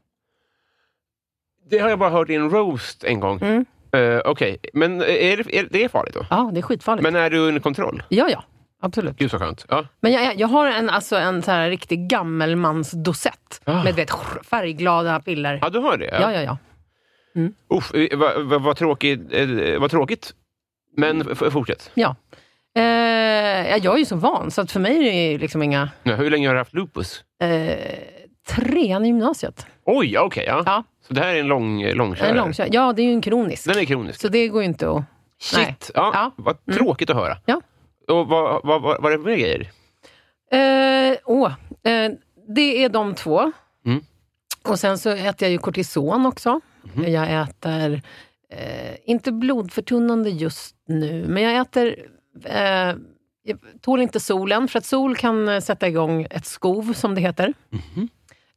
Det har jag bara hört i en roast en gång. Mm. Eh, Okej, men är det, är det är farligt då? Ja, det är skitfarligt. Men är du under kontroll? Ja, ja. Absolut. Gud så skönt. Ja. Men jag, jag har en, alltså, en så här riktig gammelmansdosett Ah. med du vet, färgglada piller. ja, du har det? Ja, ja, ja. Usch, eh, vad vad- vad tråkigt. eh, Vad tråkigt. Men Mm. f- fortsätt. ja. Eh, ja, jag är ju så van, så att för mig är det ju liksom inga... Ja, Hur länge har du haft lupus? Eh, trean i gymnasiet. Oj, ja, okej. ja. Ja, Så det här är en lång, eh, långkörare? en långkör. Ja, det är ju en kronisk. Den är kronisk. Så det går ju inte att... Nej. Shit! Ja, Ja. Mm. Vad tråkigt att höra. Ja. Och vad, vad, vad, vad är det för grejer? Eh, åh, eh, det är de två. Mm. Och sen så äter jag ju kortison också. Mm-hmm. Jag äter, eh, inte blodförtunnande just nu, men jag äter, eh, jag tål inte solen, för att sol kan eh, sätta igång ett skov, som det heter. Mm-hmm.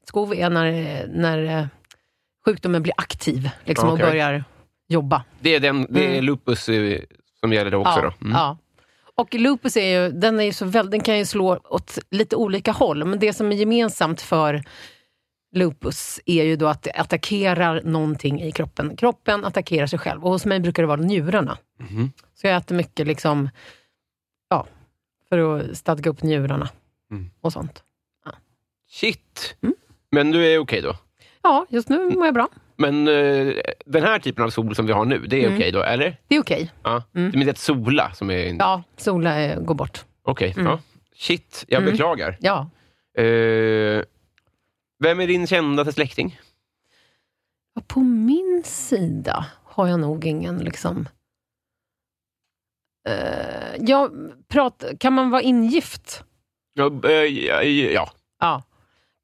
Ett skov är när, eh, när eh, sjukdomen blir aktiv liksom, Okej. och börjar jobba. Det är, den, det är lupus eh, som gäller då också? Mm. Ja, Då. Mm. ja. Och lupus är ju, den, är ju så väl, den kan ju slå åt lite olika håll, men det som är gemensamt för lupus är ju då att det attackerar någonting i kroppen. Kroppen attackerar sig själv och hos mig brukar det vara njurarna. Mhm. Så jag äter mycket liksom, ja, för att stadga upp njurarna Mm. och sånt. Shit! Mm. Men du är okej då? Ja, just nu mår jag bra. Men eh, den här typen av sol som vi har nu, det är Mm. okej då, eller? Det är okej. Ja. Mm. Men det är ett sola som är... Ja, sola eh, går bort. Okej. Mm. Ja. Shit, jag Mm. beklagar. Ja. Eh, vem är din kändaste släkting? Ja, På min sida har jag nog ingen liksom... Eh, jag prat, kan man vara ingift? Ja, eh, ja, ja. Ja.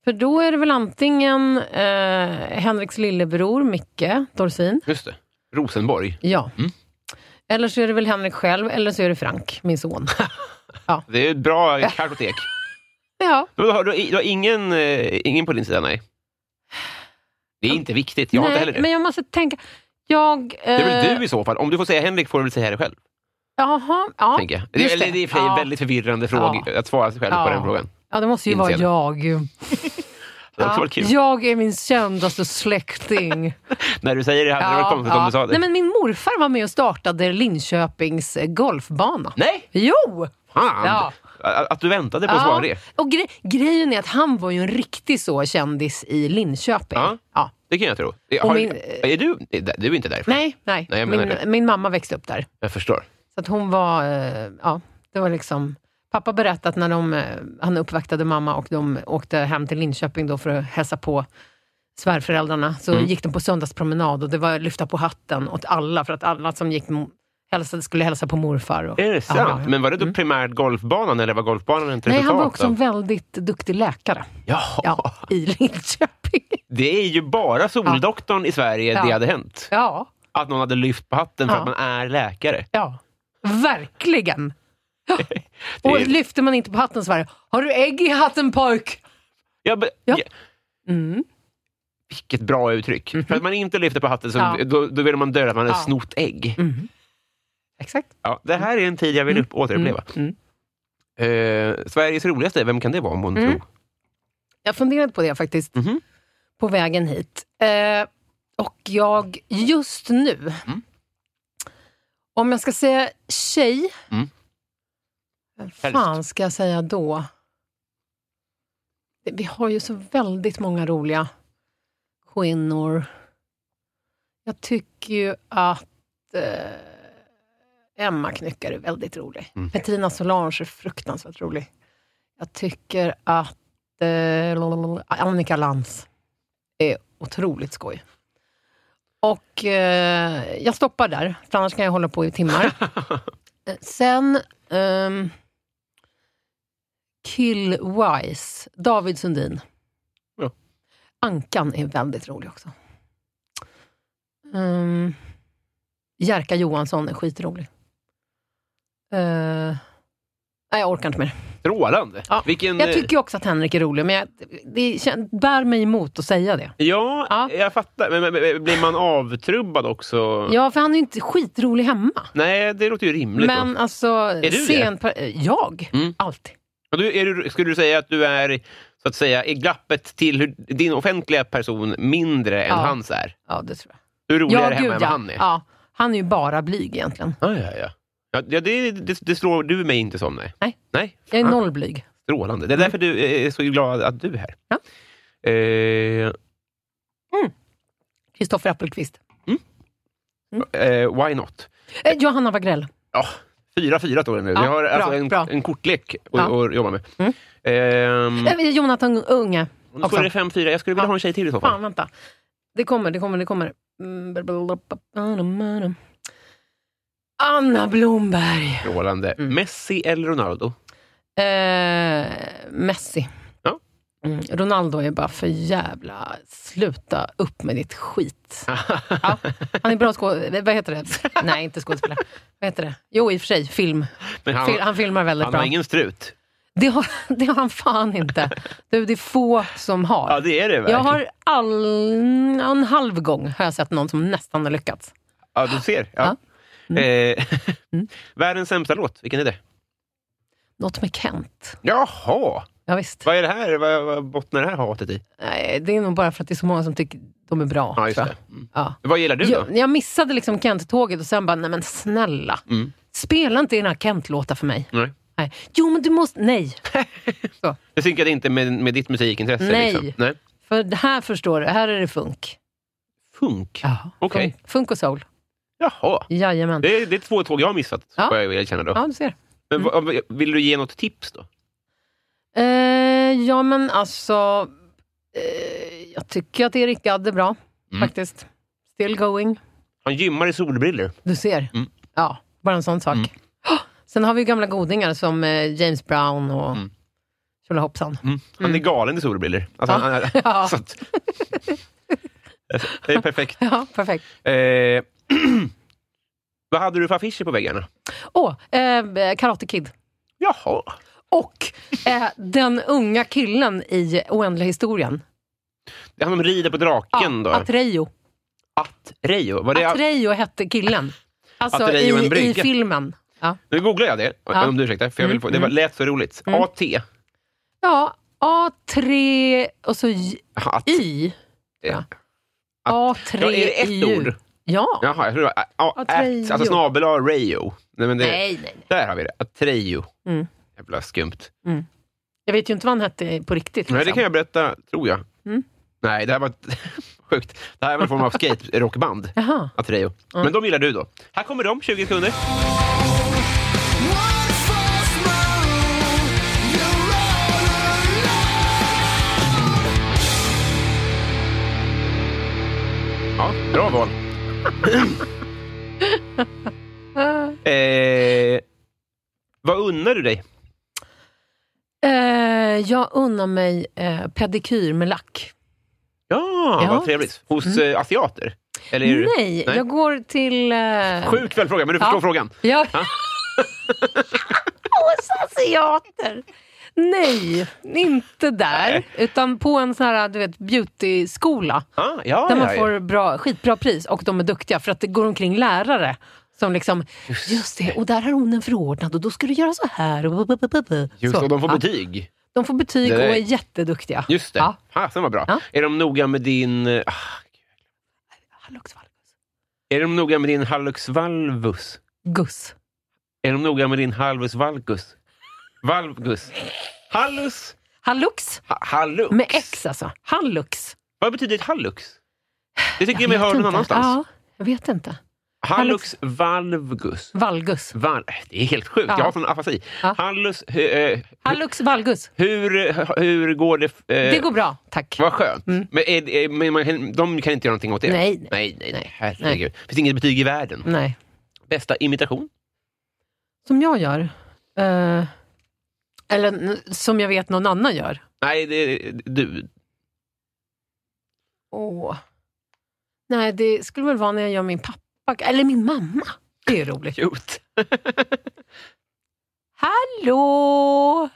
För då är det väl antingen eh, Henriks lillebror Micke Dorsin. just det. Rosenborg. Ja. Mm. Eller så är det väl Henrik själv, eller så är det Frank, min son. Det är ett bra kartotek. ja. Men Du har, du har, du har ingen, eh, ingen på din sida, nej? Det är inte viktigt. Jag har inte Mm. Nej, heller det. men jag måste tänka. Jag... Eh, Det är väl du i så fall. Om du får säga Henrik får du väl säga det själv. Jaha, ja. tänker jag. Det, just är- det. det. är i och för sig Ja. väldigt förvirrande fråga, att svara sig själv på Ja. den frågan. ja, det måste ju vara Inser det. jag. Det hade också varit kul. Jag är min kändaste släkting. När du säger det hade det varit konstigt om du sa det. Nej, men min morfar var med och startade Linköpings eh, golfbana. Nej! Jo! Fan! Ja. Att att du väntade på att svara det. Och gre- grejen är att han var ju en riktig så kändis i Linköping. Ja. Ja. Det kan jag tro. Och Har, min- är du, du är inte därifrån? Nej, nej. Nej, jag menar min, det. min mamma växte upp där. Jag förstår. Så att hon var, eh, ja, det var liksom... Pappa berättade att när de, eh, han uppvaktade mamma och de åkte hem till Linköping då för att hälsa på svärföräldrarna, så Mm. gick de på söndagspromenad och det var lyfta på hatten åt alla, för att alla som gick mo- hälsade skulle hälsa på morfar. Och, Är det sant? Ja, ja, ja. Men var det då primärt golfbanan eller var golfbanan inte Nej, han var resultat också en av- väldigt duktig läkare Ja, ja, i Linköping. Det är ju bara Soldoktorn i Sverige det Ja. hade hänt. Ja, Att någon hade lyft på hatten för Ja. att man är läkare. ja. Verkligen! Ja. Det Och är- lyfter man inte på hatten så var det, har du ägg i hatten pojk? Ja, men, Ja. ja. Mm. Mhm. Vilket bra uttryck. För att man inte lyfter på hatten, så, Ja. då, då vill man dölja att man har Ja. snott ägg. Exakt. Ja, det här är en tid jag vill upp, återuppleva. Mm. Eh, Sveriges roligaste, vem kan det vara om Mm. mm. Jag har funderat på det faktiskt, Mhm. på vägen hit. Eh, och jag, just nu, om jag ska säga tjej, Mm. vem fan ska jag säga då? Det- Vi har ju så väldigt många roliga kvinnor. Jag tycker ju att eh, Emma Knyckare är väldigt rolig. Petrina Solange är fruktansvärt rolig. Jag tycker att eh, lalalala, Annika Lantz är otroligt skoj. Och eh, jag stoppar där, för annars kan jag hålla på i timmar. Eh, Sen ehm, Killwise, David Sundin. Ja. Ankan är väldigt rolig också. Ehm, Jerka Johansson är skitrolig. Eh, nej, jag orkar inte mer. Strålande! Ja. Vilken, Jag eh, tycker ju också att Henrik är rolig, men jag, det kän- bär mig emot att säga det. Ja, Ja. jag fattar. Men, men, men blir man avtrubbad också? Ja, för han är ju inte skitrolig hemma. Nej, det låter ju rimligt. då. Men alltså... Är du det? Jag? Mm. Alltid. Och du, är du, skulle du säga att du är så att säga, i glappet till hur, din offentliga person mindre än Ja. hans är? Ja, det tror jag. Du är roligare ja, hemma än ja. vad han är? Ja, han är ju bara blyg egentligen. Ah, ja, ja. Ja, ja, det, det, det slår du mig inte som. Nej. Nej. nej. Jag är Fan, noll blyg. Strålande. Det är därför du eh, är så glad att du är här. Ja. Eh, Kristoffer Appelqvist. eh, why not? Eh, Johanna Wagrell. Ja, fyra fyra står det nu. Ja, Vi har bra, alltså en, bra. en kortlek att Ja. att jobba med. Mm. Ehm, Eh, Jonathan Unge. och nu står det också. 5-4. Jag skulle vilja Ja. ha en tjej till i så fall. Fan, vänta. Det kommer, det kommer, det kommer. Mm, blablabla, blablabla. Anna Blomberg. Strålande. Mm. Messi eller Ronaldo? Eh, Messi. Ja. Mm, Ronaldo är bara för jävla... Sluta upp med ditt skit. ja, han är bra skådespelare. Vad heter det? Nej, inte skådespelare. Vad heter det? Jo, i och för sig. Film. Men han, Fil- han filmar väldigt han bra. har ingen strut. Det, har, det har han fan inte. Du, det är få som har. Ja, det är det jag verkligen. har all, en halv gång har jag sett någon som nästan har lyckats. Ja, du ser. Ja. Mm. Eh, Världens sämsta låt, vilken är det? Något med Kent. Jaha! Ja, visst. Vad är det här? Vad, vad bottnar det här hatet i? Nej, det är nog bara för att det är så många som tycker de är bra. Ja, just tror det. Mm. jag. Ja. Vad gillar du då? Jag, jag missade liksom Kent-tåget och sen bara, nej men snälla. Spela inte dina Kent-låtar för mig. Mm. Nej. Nej. Jo, men du måste... Nej. så. Det synkade inte med, med ditt musikintresse? Nej. Liksom. Nej. För det här förstår du, här är det funk. Funk? Okej. Funk, funk och soul. Jaha. Jajamän. Det är, det är två tåg jag har missat, Ja. får jag erkänna då. Ja, Mm. du ser. Men, vad- vill du ge något tips då? Eh, ja, men alltså... Eh, jag tycker att Erik Gadd är bra, Mm. faktiskt. Still going. Han gymmar i solbriller. Du ser. Mm. Ja, bara en sån sak. Åh, Sen har vi ju gamla godingar som eh, James Brown och Mm. Tjolahoppsan. Han är galen i solbriller. Alltså, Mm. Ja. han är, Ja. så att, det är perfekt. Ja, perfekt. Eh, vad hade du för affischer på väggarna? Åh, eh, Karate Kid. Jaha. Och eh, den unga killen i Oändliga historien. Det är han som rider på draken då? Atrejo. Atrejo. Var det, Atrejo hette killen. Alltså Atrejo, en i, i brygga. filmen. Ja, nu googlar jag det, Ja. Mm, om du ursäktar. För jag vill få, det var, lät så roligt. AT. ja A3 och så J- Att, I. ja. A3 Ja, är det ett IU. ord? Ja. Jaha, jag tror det var... a- a- Atrejo. At, alltså snabel A, Rayo. Nej, men det, Nej, nej. Där har vi det. Atrejo. Mm. Jävla skumt. Jag vet ju inte vad han hette på riktigt. Nej, det liksom. kan jag berätta, tror jag. Mm. Nej, det här var ett- sjukt. Det här var en form av skate-rockband. Jaha. Atrejo. Men de gillar du då. Här kommer de, 20 sekunder. Ja, bra val. eh, vad unnar du dig? Eh, jag unnar mig eh, pedikyr med lack. Ja, Ja. Mm. vad trevligt. Hos eh, asiater? Eller är du- Nej, Nej. jag går till... Eh, Sjuk följdfråga, men du Ja. förstår frågan. Jag... Ja. Hos asiater! Nej, inte där. Nej. Utan på en sån här du vet, beautyskola. Ah, ja, ja, Där man ja. får bra, skitbra pris och de är duktiga för att det går omkring lärare som liksom, just, det, och där har hon en förordnad och då ska du göra så här. Och bu- bu- bu- bu- bu. Just så. det, och de får Ja, betyg. de får betyg Det och där är är- jätteduktiga. Just det. Ja. Fasen vad bra. Ja. Är de noga med din... ah, Hallux valgus. Är de noga med din hallux valvus? Guss. Är de noga med din halvus valgus? Valgus? Hallus? Hallux Ha hallux? med X alltså. Hallux. Vad betyder ett hallux? Det tycker jag Jag mig vet höra någon inte. annanstans. Ja, jag vet inte. Hallux valgus. Valgus. Val äh, det är helt sjukt. Ja. Jag har sån afasi. Ja. Hallus... hu- eh, Hallux valgus. hur, hur går det? eh, Det går bra, tack. Vad skönt. Mm. Men, är, är, men man, de kan inte göra någonting åt det? Nej, nej. nej, nej. nej. Herregud. finns inget betyg i världen. Nej. Bästa imitation? Som jag gör. Eh, eller n- som jag vet någon annan gör. Nej, det, du. Åh. Nej, det skulle väl vara när jag gör min pappa, eller min mamma. Det är roligt. Cute. Hallå!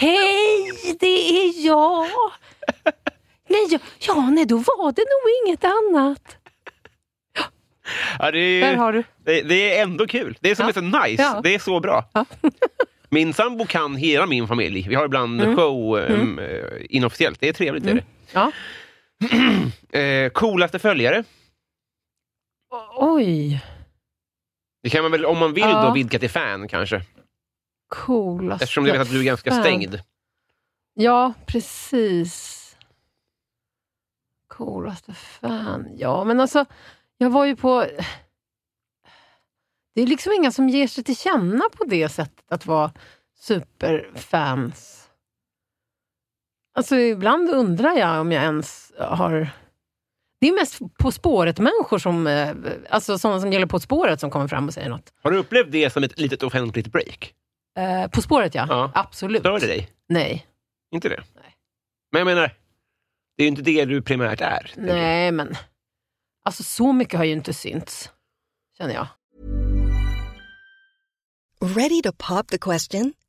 Hej, det är jag! Nej, ja, ja, nej, då var det nog inget annat. Ja, det, är, Där har du. det, det är ändå kul. Det är som Ja. är så nice. Ja. Det är så bra. Ja. Min sambo kan hela min familj. Vi har ibland show eh, eh, inofficiellt. Det är trevligt. Är Mm. Ja. det. Eh, coolaste följare? O- Oj, Det kan man väl, om man vill, Ja. då vidga till fan kanske. coolaste. Eftersom jag vet att du är ganska fan. stängd. Ja, precis. Coolaste fan. Ja, men alltså, jag var ju på... Det är liksom inga som ger sig till känna på det sättet, att vara superfans. Alltså, ibland undrar jag om jag ens har... Det är mest På spåret-människor, som, eh, alltså sådana som gäller På spåret, som kommer fram och säger något. Har du upplevt det som ett litet offentligt break? Eh, på spåret, ja. Ja. Absolut. Stör det dig? Nej. Inte det? Nej. Men jag menar, det är ju inte det du primärt är. tänker jag. Nej, men alltså så mycket har ju inte synts, känner jag. Ready to pop the question?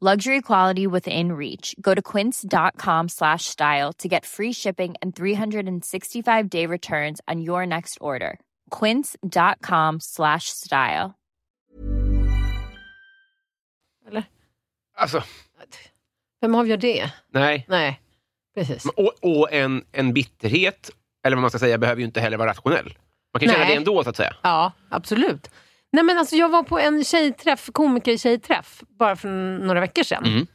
Luxury quality within reach. Go to quince.com slash style to get free shipping and 365 day returns on your next order. Quince.com slash style. Eller? Alltså, Vem avgör det? nej. Nej, precis. Men- Och, och en, en bitterhet, eller vad man ska säga, behöver ju inte heller vara rationell. Man kan känna Nej. det ändå, så att säga. Ja, absolut. Nej, men alltså, jag var på en tjejträff, komiker-tjejträff bara för några veckor sedan. Mm.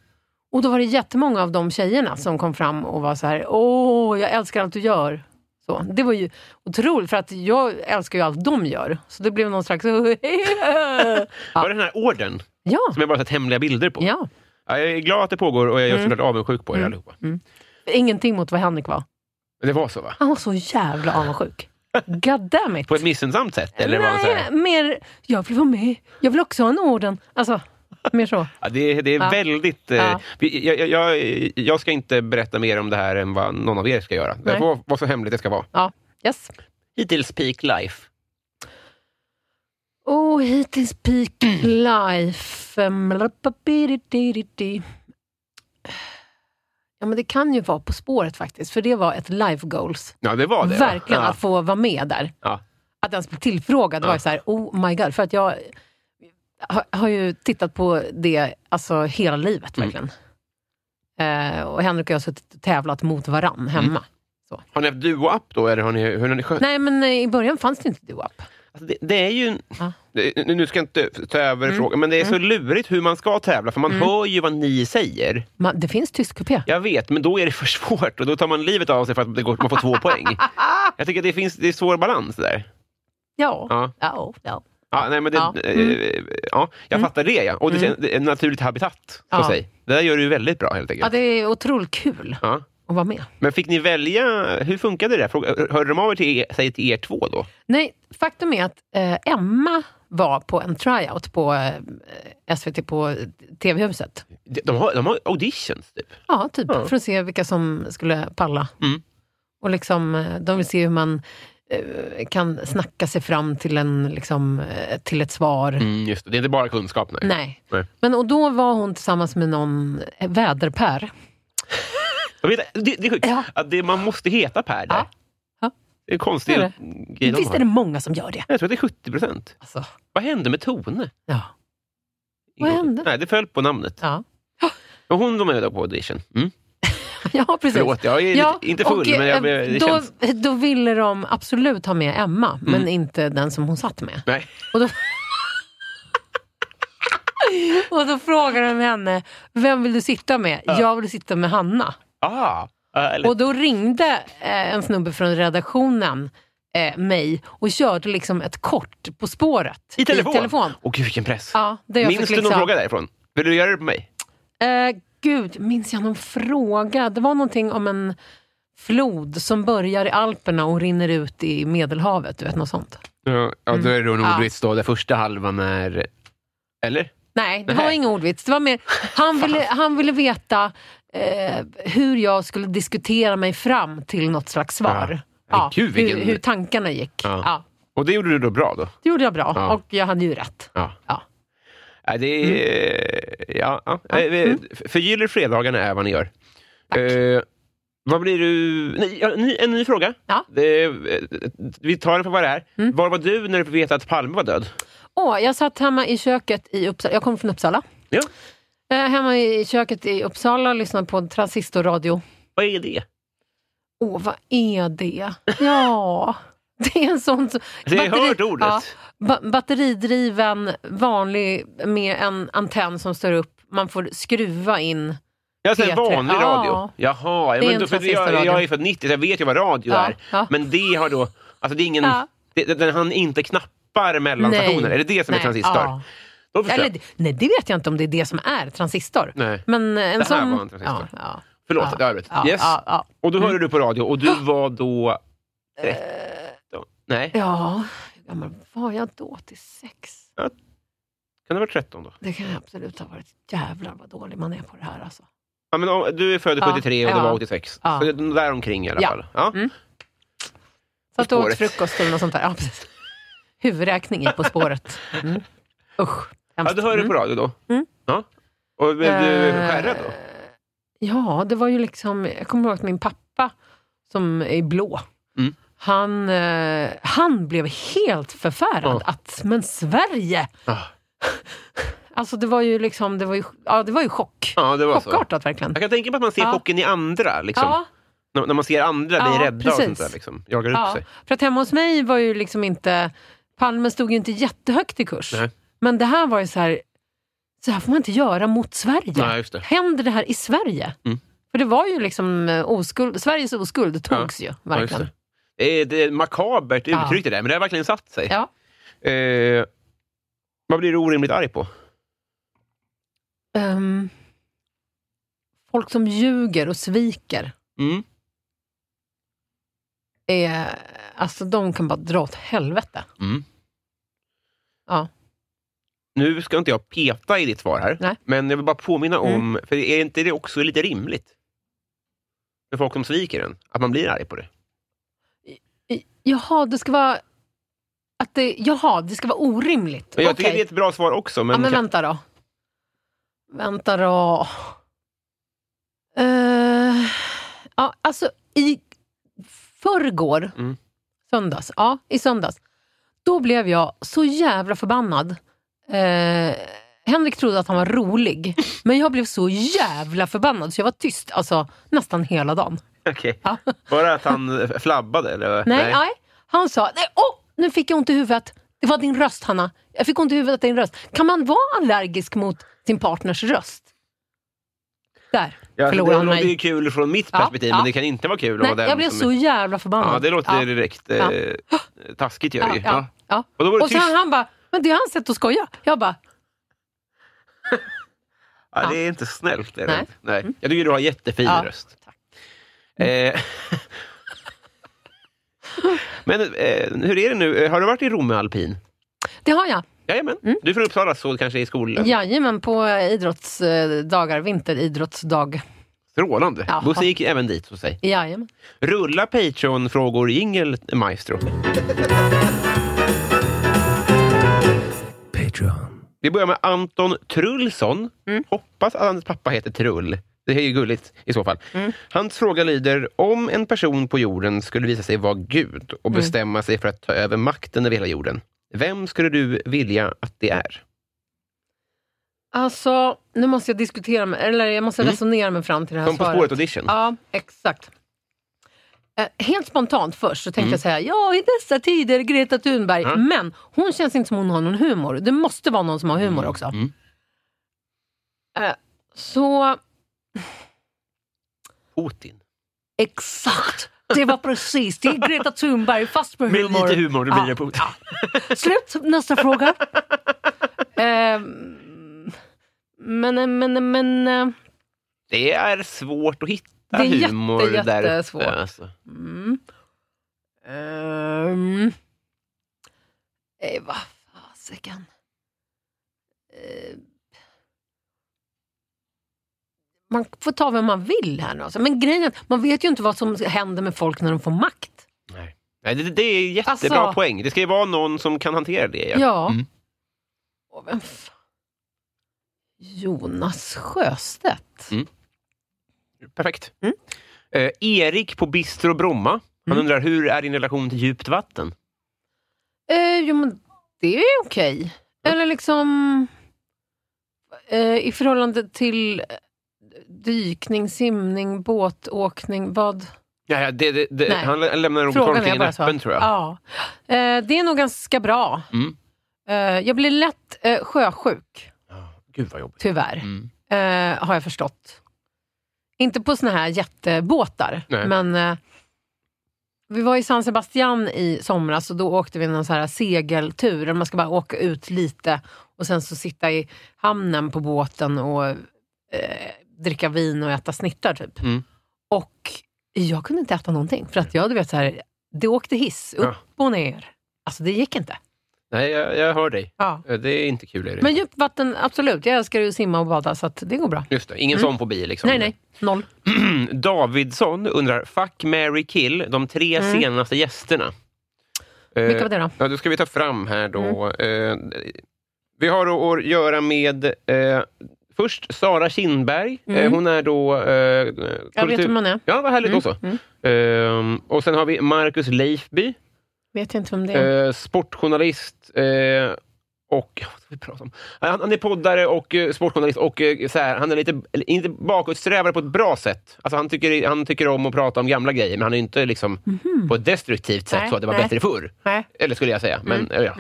Och då var det jättemånga av de tjejerna som kom fram och var så här, åh, jag älskar allt du gör. Så, det var ju otroligt, för att jag älskar ju allt de gör. Så det blev någon slags... Var det den här orden ja, som jag bara sett hemliga bilder på? ja. Mm. Ja, jag är glad att det pågår och jag är såklart avundsjuk på er allihopa. Ingenting mot vad Henrik var. Men Det var så va? Han var så jävla avundsjuk. God damn it. På ett missunnsamt sätt? Eller var han så Nej, här? mer jag vill vara med. Jag vill också ha en orden. Alltså, mer så. Ja, det, det är Ja. väldigt... eh, Ja. vi- Jag, jag, jag, jag ska inte berätta mer om det här än vad någon av er ska göra. Det Nej. får vara så hemligt det ska vara. Ja, yes. Hittills peak life. Oh, hittills peak life. Mm, lappapididididi. Ja, men det kan ju vara På spåret faktiskt, för det var ett life goals. Ja, det var det. va? Verkligen, Ja. att få vara med där. Ja. Att ens bli tillfrågad var Ja. ju så här, oh my god. För att jag har, har ju tittat på det alltså, hela livet verkligen. Eh, och Henrik och jag har suttit och tävlat mot varann hemma. Har ni haft Duo-app då? Eller har ni, hur har ni skött? Nej, men eh, i början fanns det inte Doap. Alltså, det, det är ju... Ja. Mm. Det, nu ska jag inte ta över frågan, men det är så lurigt hur man ska tävla, för man hör ju vad ni säger. Man, det finns tysk kupé. Jag vet, men då är det för svårt och då tar man livet av sig för att det går, man får två poäng. Jag tycker att det, finns, det är svår balans det där. Ja. Ja. ja. ja. Ja, nej, men det, Ja. Mm. eh, ja, jag fattar det, ja. Och det, det är ett naturligt habitat, så Ja. att säga. Det där gör du ju väldigt bra, helt enkelt. Ja, det är otroligt kul Ja. att vara med. Men fick ni välja... Hur funkade det? där? Fråga- Hörde de av er till er, sig till er två då? Nej, faktum är att eh, Emma var på en tryout på eh, SVT på TV-huset. De de har, de har auditions, typ. Ja, typ. Ja. För att se vilka som skulle palla. Mm. Och liksom, eh, de vill se hur man eh, kan snacka sig fram till, en, liksom, eh, till ett svar. Mm, just det. det är inte bara kunskap. Nej. Nej. Nej. Men, och då var hon tillsammans med någon eh, väderpär. Jag vet, det, det är sjukt. Ja. Att det, man måste heta Per där. Ja. Ja. Det är konstigt. Är det? grej de Visst har. är det många som gör det? Jag tror att det är 70 procent. Alltså, Vad hände med Tone? ja. Vad hände? Nej, det föll på namnet. Ja, Och hon var med då på audition. Mm. ja precis. Förlåt, jag är Ja, lite, inte full, och, men jag, eh, blev- det då, känns... Mm. då ville de absolut ha med Emma, men inte den som hon satt med. Nej. Och då, och då frågade de henne, vem vill du sitta med? Jag vill sitta med Hanna. Ah, eh, eller, Och då ringde eh, en snubbe från redaktionen eh, mig och körde liksom ett kort På spåret. I telefon? Åh gud, vilken press. Ja, det jag Minns fick du någon liksom- fråga därifrån? Vill du göra det på mig? Eh, gud, minns jag någon fråga? Det var någonting om en flod som börjar i Alperna och rinner ut i Medelhavet. Du vet, något sånt. Ja, ja då är det nog Ja. ordvits då, där första halvan är... Eller? Nej, det Nej. var ingen ordvits. Det var mer, han, ville, han ville veta eh, hur jag skulle diskutera mig fram till något slags svar. Ja. Gud, vilken- hur, hur tankarna gick. Ja. Ja. Och det gjorde du då bra då? det gjorde jag bra Ja. och jag hade ju rätt. Ja. Ja. Mm. Ja, det är, ja, ja. Eh, f- Förgyller fredagarna är vad ni gör. Eh, vad blir du... Nej, ja, ny, en ny fråga. Ja. Mm. Det, eh, vi tar det för vad det är. Var var du när du vet att Palme var död? Åh, jag satt hemma i köket i Uppsala. Jag kommer från Uppsala. Ja. Eh, hemma i köket i Uppsala och lyssnade på en transistorradio. Vad är det? Åh, vad är det? Ja, det är en sån... som- Det är batteri- hört ordet. Ja, ba- batteridriven, vanlig, med en antenn som står upp. Man får skruva in. Jag säger P3. vanlig Ja. radio. Jaha, ja, Det är men en då, för transistorradio. jag, jag är född 90, så jag vet ju vad radio Ja, är. ja. Men det har då... Alltså det är ingen... Ja. Det, den hann inte knappar mellan Nej. stationer. Är det det som Nej, är transistor? ja. Då förstår Eller, jag. nej, det vet jag inte om det är det som är transistor. Nej. Men eh, en Det här sån... var en transistor. Ja, ja, Förlåt ja, att jag avbröt. ja, Yes. Ja, ja. Och då hörde du på radio och du var då... Eh. 13? Nej, ja, hur gammal var jag då? Till sex? kan det ha varit 13 då? Det kan jag absolut ha varit. Jävlar vad dålig man är på det här alltså. Ja, men, om- du är född Ja, 73 och det ja. var 86. Ja. Så där omkring i alla Ja. Mm. fall. Ja. Satt och åt spåret. frukost eller något sånt där. Ja, precis. Huvudräkning i På spåret. Mm. Usch. Ja, hemskt. du hörde Mm. på radio då? Mm. Ja. Och blev du Eh, skärrad då? Ja, det var ju liksom... Jag kommer ihåg att min pappa, som är blå, Mm. han, eh, han blev helt förfärad. Ja. Att, men Sverige! Ah. Alltså det var ju liksom... Det var ju, ja, det var ju chock. Ja, liksom. det var så. Chockartat verkligen. Jag kan tänka mig att man ser Ja. chocken i andra. Liksom. Ja, När, när man ser andra Ja, bli rädda och sånt precis. där. Liksom. Jagar upp ja. sig. För att hemma hos mig var ju liksom inte... Palme stod ju inte jättehögt i kurs. Nej. Men det här var ju så här... Så här får man inte göra mot Sverige. Nej, just det. Händer det här i Sverige? Mm. För det var ju liksom eh, oskuld, Sveriges oskuld togs ju Ja, just verkligen. det. Det är, det är makabert Ja. uttryck det där, men det har verkligen satt sig. Ja. Eh, vad blir du orimligt arg på? Ehm, folk som ljuger och sviker, Mm. är, alltså de kan bara dra åt helvete. Mm. Ja. Nu ska inte jag peta i ditt svar här, Nej. men jag vill bara påminna Mm. om, för är inte det också lite rimligt? För folk som sviker en, att man blir arg på det. I- Jaha, det ska vara... Att det, jaha, det ska vara orimligt. Men jag Okej. tycker det är ett bra svar också, men, ja, men kan- vänta då. Vänta då. Eh, ja, alltså, i förrgår, Mm. söndags, ja, i söndags, då blev jag så jävla förbannad. Eh, Henrik trodde att han var rolig, men jag blev så jävla förbannad så jag var tyst alltså, nästan hela dagen. Okej. Ja. Bara att han flabbade? Eller? Nej, nej. Han sa, nej, åh, nu fick jag ont i huvudet. Det var din röst, Hanna. Jag fick ont i huvudet, din röst. Kan man vara allergisk mot sin partners röst? Där Ja, alltså, förlorade det han låter ju mig. kul från mitt Ja, perspektiv, ja. men det kan inte vara kul att Nej, vara den jag blev som... så jävla förbannad. Ja, det låter Ja, direkt eh, Ja. taskigt. Gör det. ja, ju. ja, Ja. ja. Och då var det Och sen tyst. han bara, men det är hans sätt att skoja. Jag bara, Ja, det är inte snällt. Är det? Nej. Mm. inte. Nej. Jag tycker du har jättefin Ja, röst. Eh, men eh, hur är det nu? Har du varit i Romme Alpin? det har jag. Jajamän. Mm. Du är från Uppsala, så kanske i skolan. Jajamän, på eh, idrottsdagar, vinteridrottsdag. Strålande. Ja. Bosse gick även dit hos sig. Jajamän. Rulla Patreon-frågor jingel, maestro. Patreon. Vi börjar med Anton Trullsson. Mm. Hoppas att hans pappa heter Trull. Det är ju gulligt i så fall. Mm. Hans fråga lyder, om en person på jorden skulle visa sig vara Gud och Mm. bestämma sig för att ta över makten över hela jorden, vem skulle du vilja att det är? Alltså, nu måste jag diskutera, med, eller jag måste Mm. resonera mig fram till det här Som På svaret. spåret-audition? Ja, exakt. Eh, helt spontant först så tänkte jag säga, ja i dessa tider Greta Thunberg. Mm. Ja. Men hon känns inte som hon har någon humor. Det måste vara någon som har humor också. Mm. Eh, så Putin. exakt, det var precis, det är Greta Thunberg fast med Med humor. lite humor, då blir det Putin. Slut, nästa fråga. eh, men, men, men, eh, Det är svårt att hitta Det är jätte, humor där uppe, jättesvårt. Alltså. Mm. Ehm. Eh, vad fasiken. Eh. Man får ta vem man vill här nu. Alltså. Men grejen är att man vet ju inte vad som händer med folk när de får makt. Nej. Nej, det, det är jättebra Alltså- poäng. Det ska ju vara någon som kan hantera det. Ja. Ja. Mm. Och vem fan? Jonas Sjöstedt. Perfekt. Mm. Eh, Erik på Bistro Bromma. Han undrar, hur är din relation till djupt vatten? Eh, jo, men det är okej. Eller liksom eh, i förhållande till eh, dykning, simning, båtåkning, vad? Ja, ja, det, det, det, Nej. han lä- lämnar nog Frågan är tolkningen bara så. öppen, tror jag. Ja. Eh, det är nog ganska bra. Mm. Eh, jag blir lätt eh, sjösjuk, Ja, Gud vad jobbigt. tyvärr, Mm. eh, har jag förstått. Inte på såna här jättebåtar, Nej. men eh, vi var i San Sebastian i somras och då åkte vi någon så här segeltur. Där man ska bara åka ut lite och sen så sitta i hamnen på båten och eh, dricka vin och äta snittar typ. Mm. Och jag kunde inte äta någonting för att jag, du vet, så här, det åkte hiss upp och ner. Alltså det gick inte. Nej, jag, jag hör dig. Ja. Eh, Det är inte kul. Är det? Men djupvatten, absolut. Jag älskar ju att simma och bada så att det går bra. Just det, ingen sån fobi. Liksom. Mm. Nej, nej. Noll. Davidsson undrar, fuck, Mary kill, de tre senaste gästerna. Eh, Mm. Vilka var det då? Ja, då ska vi ta fram här då. Mm. Eh, vi har då att göra med eh, först Sara Kindberg. Eh, hon är då... Eh, Mm. Jag vet kultur- vem man Mm, är. Ja, vad härligt också. Eh, och sen har vi Marcus Leifby, Vet inte vem det är. eh, sportjournalist eh, och... Vad ska vi prata om? Han, han är poddare och eh, sportjournalist och eh, så här, han är lite, inte bakåtsträvare på ett bra sätt. Alltså, han, tycker, han tycker om att prata om gamla grejer, men han är inte liksom på ett destruktivt sätt, Mhm. Nej, så att det var nej. bättre förr. Nej. Mm, Eller skulle jag säga. Men, eller ja.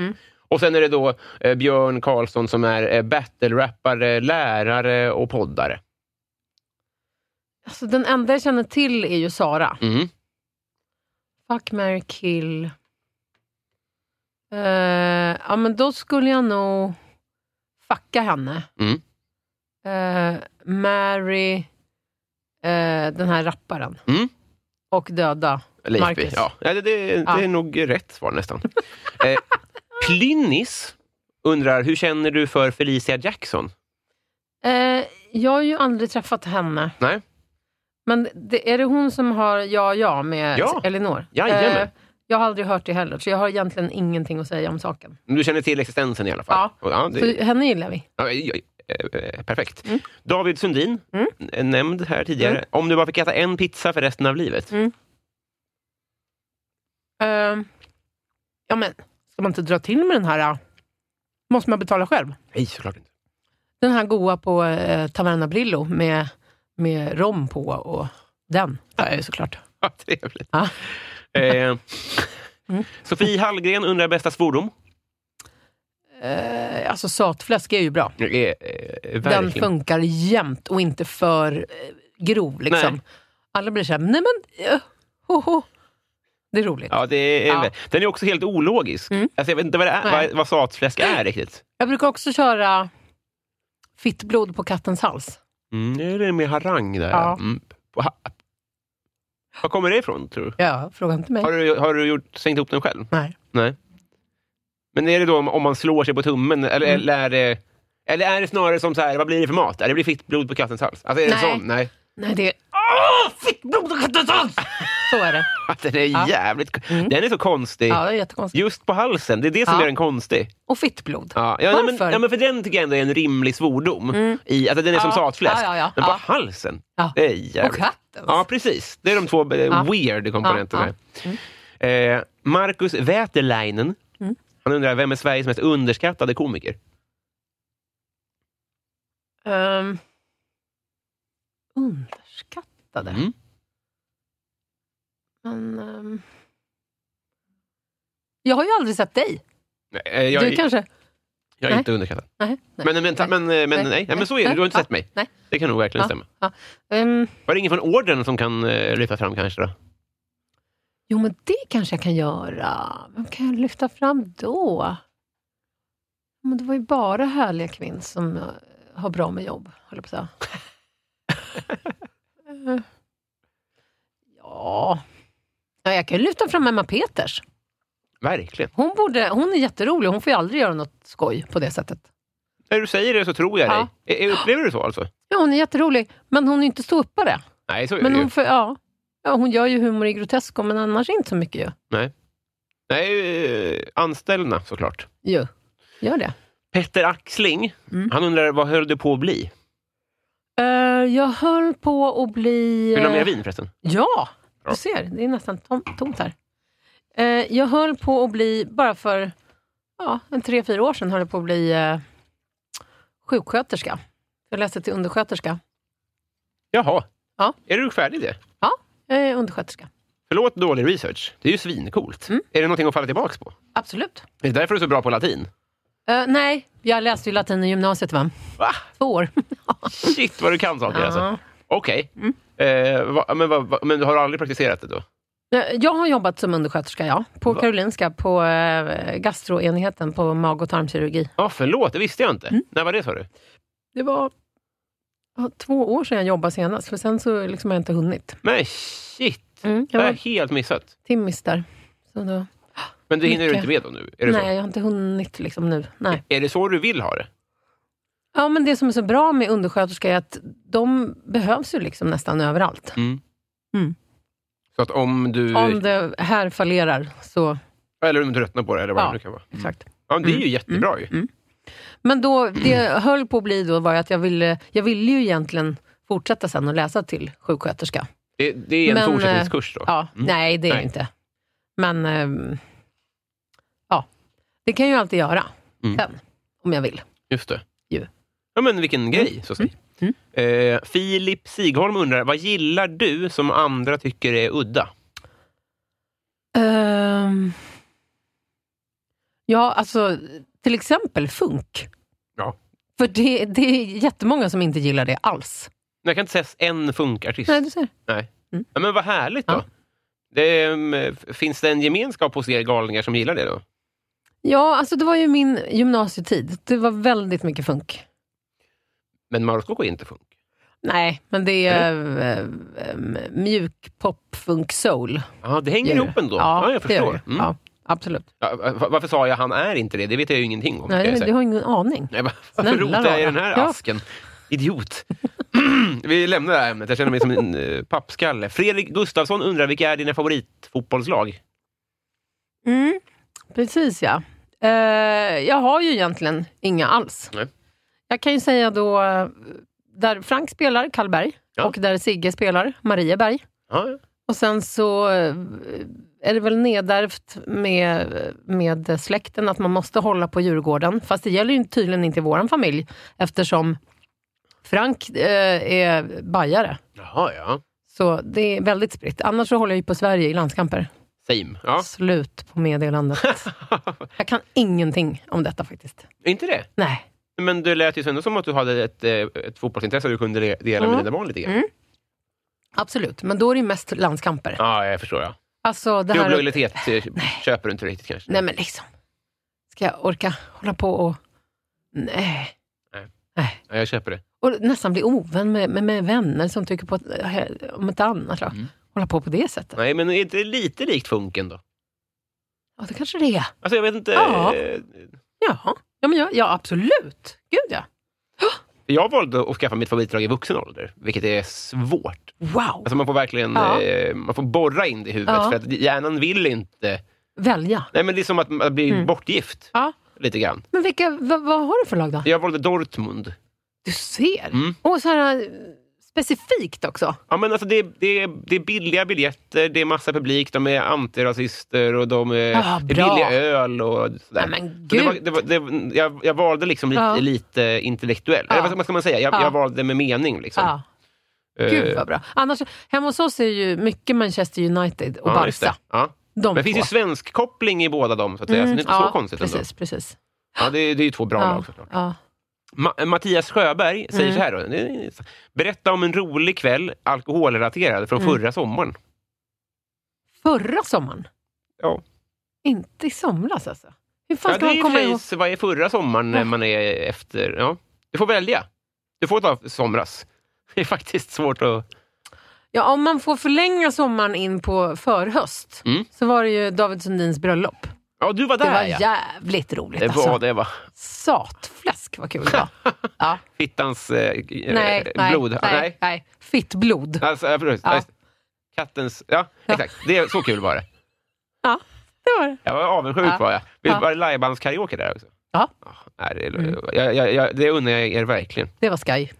Och sen är det då eh, Björn Karlsson som är eh, battle-rappare, lärare och poddare. Alltså, den enda jag känner till är ju Sara. Mm. Fuck, marry, kill. Eh, ja, men då skulle jag nog fucka henne. Mm. Eh, marry eh, den här rapparen. Mm. Och döda Leifby. Marcus. Ja. Ja, det, det, det Ja. är nog rätt svar nästan. eh, Plynnis undrar, hur känner du för Felicia Jackson? Eh, jag har ju aldrig träffat henne. Nej. Men det, är det hon som har Ja, ja med Ja. Elinor? Eh, Jajamän. jag har aldrig hört det heller, så jag har egentligen ingenting att säga om saken. Du känner till existensen i alla fall? Ja. ja, det, Så Mm. henne gillar vi. ja, ja, ja, eh, perfekt. David Sundin, Mm. eh, nämnd här tidigare. Om du bara fick äta en pizza för resten av Mm. livet? Eh, ja, men ska man inte dra till med den här? eh? Måste man betala själv? Nej, såklart inte. Den här goa på eh, Taverna Brillo med, med rom på och den. Ja, jag är såklart. Ja, trevligt. Ja. Eh, Mm. Sofie Hallgren undrar bästa svordom. Eh, alltså satfläsk är ju bra. Eh, eh, Den verkligen. funkar jämt och inte för eh, grov. Liksom. Nej. Alla blir såhär, nej men... eh, ho, ho. Det är roligt. Ja, det är, Ja. Mm. Den är också helt ologisk. Alltså, jag vet inte vad, det är, Nej. vad, vad satfläsk är riktigt. Jag brukar också köra fitt blod på kattens hals. Mm, nu är det mer harang där. Ja. Mm. På ha- Var kommer det ifrån, tror du? Ja, fråga inte mig. Har du, har du gjort, slängt ihop den själv? Eh. Nej. Nej. Men är det då om, om man slår sig på tummen, eller, Mm. eller, är det, eller är det snarare som så här, vad blir det för mat? Är det blir fitt blod på kattens hals? Alltså, är det Nej. sån? Nej. Nej, det är... Åh, fitt blod på kattens hals! Så är det. Alltså, det är Ja. Mm. jävligt... Den är så konstig. Ja, det är jättekonstigt. Just på halsen, det är det som Ja. gör den konstig. Och fitt blod. Ja, ja, nej, men, Varför? Mm. ja, men för den tycker jag ändå är en rimlig svordom. I, alltså, den är som Ja, satfläsk. ja, ja, ja. men på Ja. halsen, Ja. det är jävligt. Och kattens. Ja, precis. Det är de två eh, weird komponenterna. Mm. Eh, Marcus Wäterleinen, han undrar vem är Sveriges mest underskattade komiker? Ehm, underskattade. Mm. Men... ehm, jag har ju aldrig sett dig. Eh, jag, du kanske... jag är nej. inte underskattad. Nej, nej. Men, men, ta- men, eh, men, nej. Nej, men så är det, du har inte Ja, sett mig. Nej. Det kan nog verkligen Ja. stämma. Ja. Ehm, Var det ingen från orden som kan eh, lyfta fram kanske? Då? jo, men det kanske jag kan göra. Vem kan jag lyfta fram då? Men det var ju bara härliga kvinnor som eh, har bra med jobb, höll jag på att säga. Eh, ja. ja, jag kan ju lyfta fram Emma Peters. Verkligen. Hon, borde, hon är jätterolig, hon får ju aldrig göra något skoj på det sättet. När du säger det så tror jag Ja. dig. Eh, eh, Upplever du så alltså? Ja, hon är jätterolig, men hon är inte ståuppare. Nej, så är Men det ju. hon, får, ja. Ja, hon gör ju humor i Grotesco, men annars inte så mycket ju. Nej, eh, anställda såklart. Jo, gör det. Petter Axling, Mm. han undrar vad höll du på att bli? Eh, jag höll på att bli... Vill du ha mer eh, vin förresten? Ja, Ja. du ser. Det är nästan tom, tomt här. Eh, jag höll på att bli, bara för ja, en tre, fyra år sedan, höll jag på att bli eh, sjuksköterska. Jag läste till undersköterska. Jaha. Ja. Är du färdig det? Jag är Eh, undersköterska. Förlåt dålig research. Det är ju svincoolt. Mm. Är det någonting att falla tillbaka på? Absolut. Det är därför du är så bra på latin. Eh, nej, jag läste ju latin i gymnasiet, va? Va? Två år. Shit vad du kan saker alltså. Ja. Mm. Okej. Eh, va- men, va, va, men har du aldrig praktiserat det då? Eh, Jag har jobbat som undersköterska, ja. På Va? Karolinska, på eh, gastroenheten på mag och tarmkirurgi. Ja, förlåt. Det visste jag inte. Mm. När var det sa du? Det var ja, två år sedan jag jobbade senast, för sen så liksom har jag inte hunnit. Men shit. Mm, Jag Det har var jag helt missat. timmis där. Så då, Men det hinner du Mycket. inte med då nu? Är det, nej, jag har inte hunnit liksom nu. Nej. så? är det så du vill ha det? Ja, men det som är så bra med undersköterska är att de behövs ju liksom nästan överallt. Så att om du... Mm. Om det här fallerar, så Mm. Eller om du tröttnar på det eller vad Ja. det nu kan vara. exakt. Mm. Ja, men det är ju jättebra ju. Men då, det Mm. jag höll på att bli då var ju att jag ville, jag ville ju egentligen fortsätta sen och läsa till sjuksköterska. Det, det är en Men, eh, fortsättningskurs då? Ja, Nej, det är Mm. Nej. det inte. Men ehm, ja, det kan jag ju alltid göra Mm. sen, om jag vill. Just det. Ju. Mm. Ja, men vilken grej, så att säga. Eh, Filip Sigholm undrar, vad gillar du som andra tycker är udda? Ehm, ja, alltså till exempel funk. Ja. För det, det är jättemånga som inte gillar det alls. Jag kan inte säga en funkartist. Nej, du ser. Nej. Ja, men vad härligt då. Ja. Det, ehm, f- finns det en gemenskap hos er galningar som gillar det då? Ja, alltså det var ju min gymnasietid. Det var väldigt mycket funk. Men Maroskocco är inte funk. Nej, men det är äh, mjuk pop, funk, soul. Ja, det hänger Gör det. ihop ändå. Ja, Ja, jag det gör förstår. det. Mm. Ja, absolut. Ja, va- varför sa jag han är inte det? Det vet jag ju ingenting om. kan Nej, jag men säga. du har ingen aning. Nej, va- varför Snälla rotar jag i rara. den här Ja. asken? Idiot. Vi lämnar det här ämnet. Jag känner mig som en eh, pappskalle. Fredrik Gustafsson undrar vilka är dina favoritfotbollslag? Mm, precis ja. Eh, jag har ju egentligen inga alls. Nej. Jag kan ju säga då eh, där Frank spelar, Karlberg, Ja. och där Sigge spelar, Marieberg. Ja, ja. Och sen så eh, är det väl nedärvt med, med släkten att man måste hålla på Djurgården. Fast det gäller ju tydligen inte i vår familj eftersom Frank eh, är bajare. Jaha, ja. Så det är väldigt spritt. Annars så håller jag ju på Sverige i landskamper. Same. Ja. Slut på meddelandet. Jag kan ingenting om detta faktiskt. inte det? Nej. Men det lät ju ändå som att du hade ett, eh, ett fotbollsintresse du kunde de- dela med Mm. dina barn lite grann. Mm. Absolut, men då är det ju mest landskamper. Ja, jag förstår. Ja. Alltså det här... Klubblojalitet eh, köper du inte riktigt kanske. Nej men liksom. Ska jag orka hålla på och... Nej. Ja, jag köper det. Och nästan bli ovän med, med, med vänner som tycker på ett, om ett annat lag. Mm. Hålla på på det sättet. Nej, men är inte det lite likt funken då? Ja, det kanske det är. Alltså, jag vet inte. Ja. eh, Ja, ja, men jag, ja absolut. Gud ja. Jag valde att skaffa mitt favoritdrag i vuxen ålder, vilket är svårt. Wow. Alltså man får verkligen Ja. eh, man får borra in det i huvudet, Ja. för att hjärnan vill inte... Välja. Nej, men det är som att man blir Mm. bortgift. Ja. Lite grann. Men vilka, vad, vad har du för lag då? Jag valde Dortmund. Du ser. Mm. Och så här eh, specifikt också. Ja, men alltså det, det, det är billiga biljetter, det är massa publik, de är antirasister och de är, Ah, det är bra. billig öl och sådär. Nej, men Så det var, gud. det var, det, jag, jag valde liksom lite, Ja. lite intellektuell. Eller vad ska- vad ska man säga? Jag, Ja. jag valde med mening. Liksom. Ja. Eh, Gud vad bra. Annars, hemma hos oss är ju mycket Manchester United och ja, just det. Barca. Ja. De Men det finns ju två. Mm. svensk koppling i båda dem, så att säga. så det är inte så konstigt ändå. precis, precis. Ja, det, är- det är ju två bra lag såklart. ja. Ma- Mattias Sjöberg säger Mm. så här. Då. Det är- Berätta om en rolig kväll, alkoholrelaterad, Mm. från förra sommaren. Förra sommaren? Ja. Inte i somras alltså? Hur fan Ja, det ska är man ju komma ihåg? precis vad är förra sommaren när Ja. man är efter... Ja. Du får välja. Du får ta somras. Det är faktiskt svårt att... Ja, om man får förlänga sommaren in på förhöst Mm. så var det ju David Sundins bröllop. Ja, du var där Det var ja. jävligt roligt Det var alltså. det var. Satfläsk vad kul det var. ja. Fittans eh, eh, nej, nej, blod. nej, Ah, nej. Fitt blod. Alltså, ja, precis. Ja. Ja. Kattens... Ja, exakt. Det, så kul var det. Ja, det var det. Jag var avundsjuk Ja. var jag. Vi Ja. var lajbands-karaoke där också. Ja. Nej, det, jag, jag, jag, det unnar jag er verkligen. Det var skoj.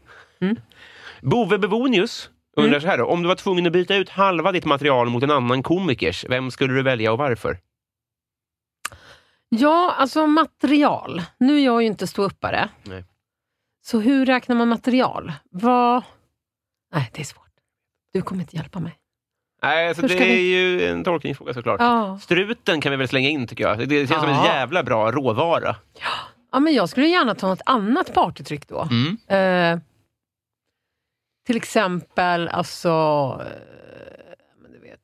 Bove Bevonius undrar Mm. så här då, om du var tvungen att byta ut halva ditt material mot en annan komikers, vem skulle du välja och varför? Ja, alltså material. Nu är jag ju inte ståuppare. Nej. Så hur räknar man material? Vad... Nej, det är svårt. Du kommer inte hjälpa mig. Nej, alltså Hur det ska är vi- ju en tolkningsfråga såklart. Ja. Struten kan vi väl slänga in tycker jag. Det känns som en Ja. jävla bra råvara. ja, men jag skulle gärna ta något annat partytryck då. Mm. Eh, till exempel, alltså... Eh, men du vet,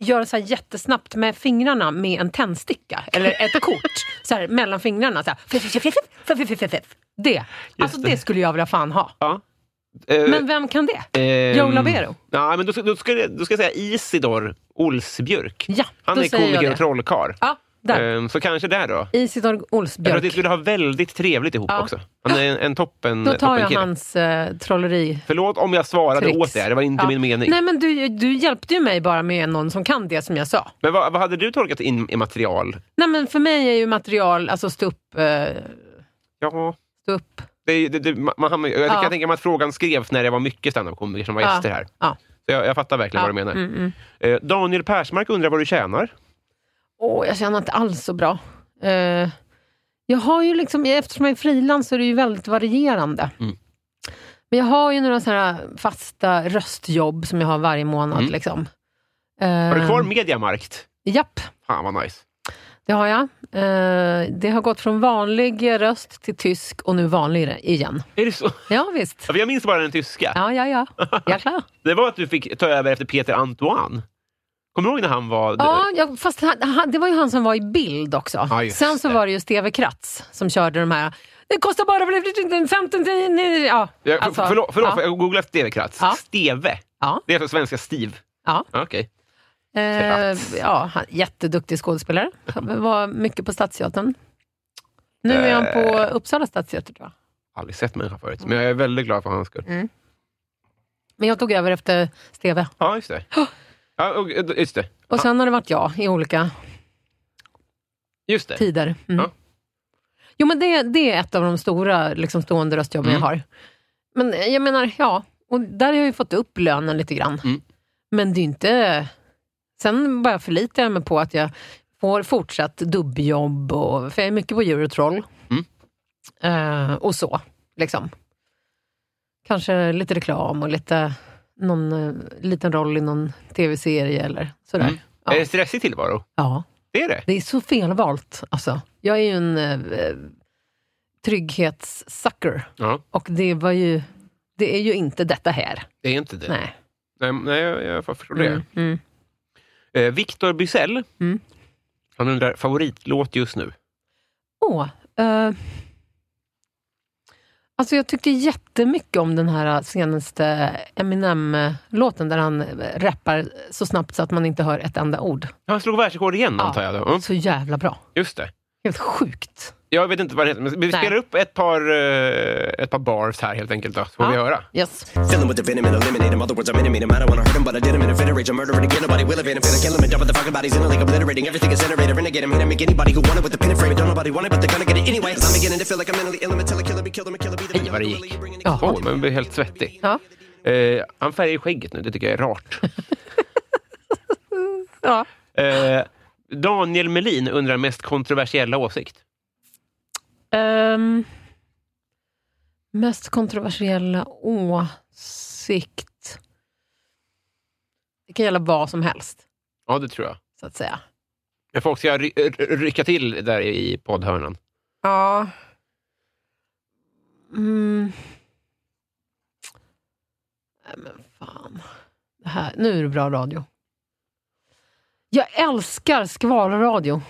göra så här jättesnabbt med fingrarna med en tändsticka eller ett kort så här, mellan fingrarna. Så här, fiff, fiff, fiff, fiff, fiff, fiff, fiff. Det. Alltså det. det skulle jag vilja fan ha. Eh, Men vem kan det? ehm, Joe Labero? Ja, men då, ska- då, ska, jag- då ska jag säga Isidor Olsbjörk. Ja, Han då är säger jag komiker det. och trollkarl. Ja, där. Ehm, så kanske där då. Isidor Jag tror att vi Olsbjörk. skulle ha väldigt trevligt ihop Ja. också. Han är en, en toppen Då tar jag toppenkille. hans eh, trolleri. Förlåt om jag svarade Tricks. åt det här, det var inte Ja. min mening. Nej men du, du hjälpte ju mig bara med någon som kan det som jag sa. Men vad, vad hade du tolkat in i material? Nej men för mig är ju material, alltså stå upp, eh, Ja, stå upp. det, är- det, det, man, man, hamnar ju- jag Ja. kan tänka mig att frågan skrevs när det var mycket standup-komiker som var Ja. gäster här. Ja. Mm, Så jag, jag fattar verkligen vad du menar. Eh, Daniel Persmark undrar vad du tjänar. Åh, jag känner inte alls så bra. Eh, jag har ju liksom, eftersom jag är frilans så är det ju väldigt varierande. Mm. Men jag har ju några så här fasta röstjobb som jag har varje månad. Mm. Liksom. Har du Eh, kvar Mediamarkt? Japp. Fan vad nice. Det har jag. Eh, Det har gått från vanlig röst till tysk och nu vanlig igen. Är det så? Ja, visst. Ja, för Jag minns bara den tyska. Ja, ja, ja. Ja, klar. Det var att du fick ta över efter Peter Antoine. Kommer du ihåg när han var... Ja, ja fast han, han, det var ju han som var i bild också. Ja, just Sen så det. var det ju Steve Kratz som körde de här... Det kostar bara 15... nej, nej, Ja, Jag, alltså, förlåt, förlåt ja. jag googlade Steve Kratz. Ja. Steve? Ja. Det är alltså svenska Steve? Ja. Okej. Eh, ja, han, jätteduktig skådespelare. Han var mycket på Stadsteatern. Nu är han på Eh. Uppsala Stadsteater tror jag. Aldrig sett människan förut, men jag är väldigt glad för hans skull. Mm. Men jag tog över efter Steve. Ja, just det. Ja, och- just det. Och sen har det varit jag i olika Just det. tider. Mm. Ja. Jo, men det, det är ett av de stora liksom, stående röstjobben Mm. jag har. Men eh, jag menar, ja. Och där har jag ju fått upp lönen lite grann. Mm. Men det är inte... Sen bara förlitar jag mig på att jag får fortsatt dubbjobb, och, för jag är mycket på djur och troll. Mm. Eh, och så, liksom. Kanske lite reklam och lite, någon eh, liten roll i någon tv-serie eller sådär. Mm. Ja. Är det stressig tillvaro? ja. Det är det. Det är så felvalt. Alltså. Jag är ju en eh, trygghetssucker. Ja. Och det, var ju, det är ju inte detta här. Det är inte det. Nej. Nej, nej jag, jag förstår Mm, mm. det. Eh, Victor Bysell. Mm. Han undrar, favoritlåt just nu? Åh, eh, alltså jag tyckte jättemycket om den här senaste Eminem-låten där han eh, rappar så snabbt så att man inte hör ett enda ord. Han slog världsrekord igen, Ja. antar jag. Då. Mm, Så jävla bra. just det. Helt sjukt. Jag vet inte vad det heter, men vi Nej. spelar upp ett par, eh, ett par bars här helt enkelt, då, så får Ja. vi höra. Yes. Filling with the venom and eliminate him. Other words, I'm intimate him. I don't want to hurt him, but I did him in a fit rage. I'm murdering again. Nobody will evade him. Finna kill him and dump the fucking bodies in a lake. Obliterating everything is iterator. Renegade him. Hit him. Make anybody who wanted with the pin and frame. it. Don't nobody want it, but they're gonna get it anyway. i I'm beginning to feel like I'm mentally ill. I'm a killer, be killed, I'm a killer, be the Hej, vad det gick. Ja. Åh, men man blir helt svettig. Ja. Eh, han färgar ju skägget nu, det tycker jag är rart. Ja. Eh, Daniel Melin undrar mest kontroversiella åsikt. Ehm, mest kontroversiella åsikt? Det kan gälla vad som helst, Ja, det tror jag. så att säga. Men folk ska ry- ry- rycka till där i poddhörnan. Ja. Mm. Nej, men fan. Det här, nu är det bra radio. Jag älskar skvalradio.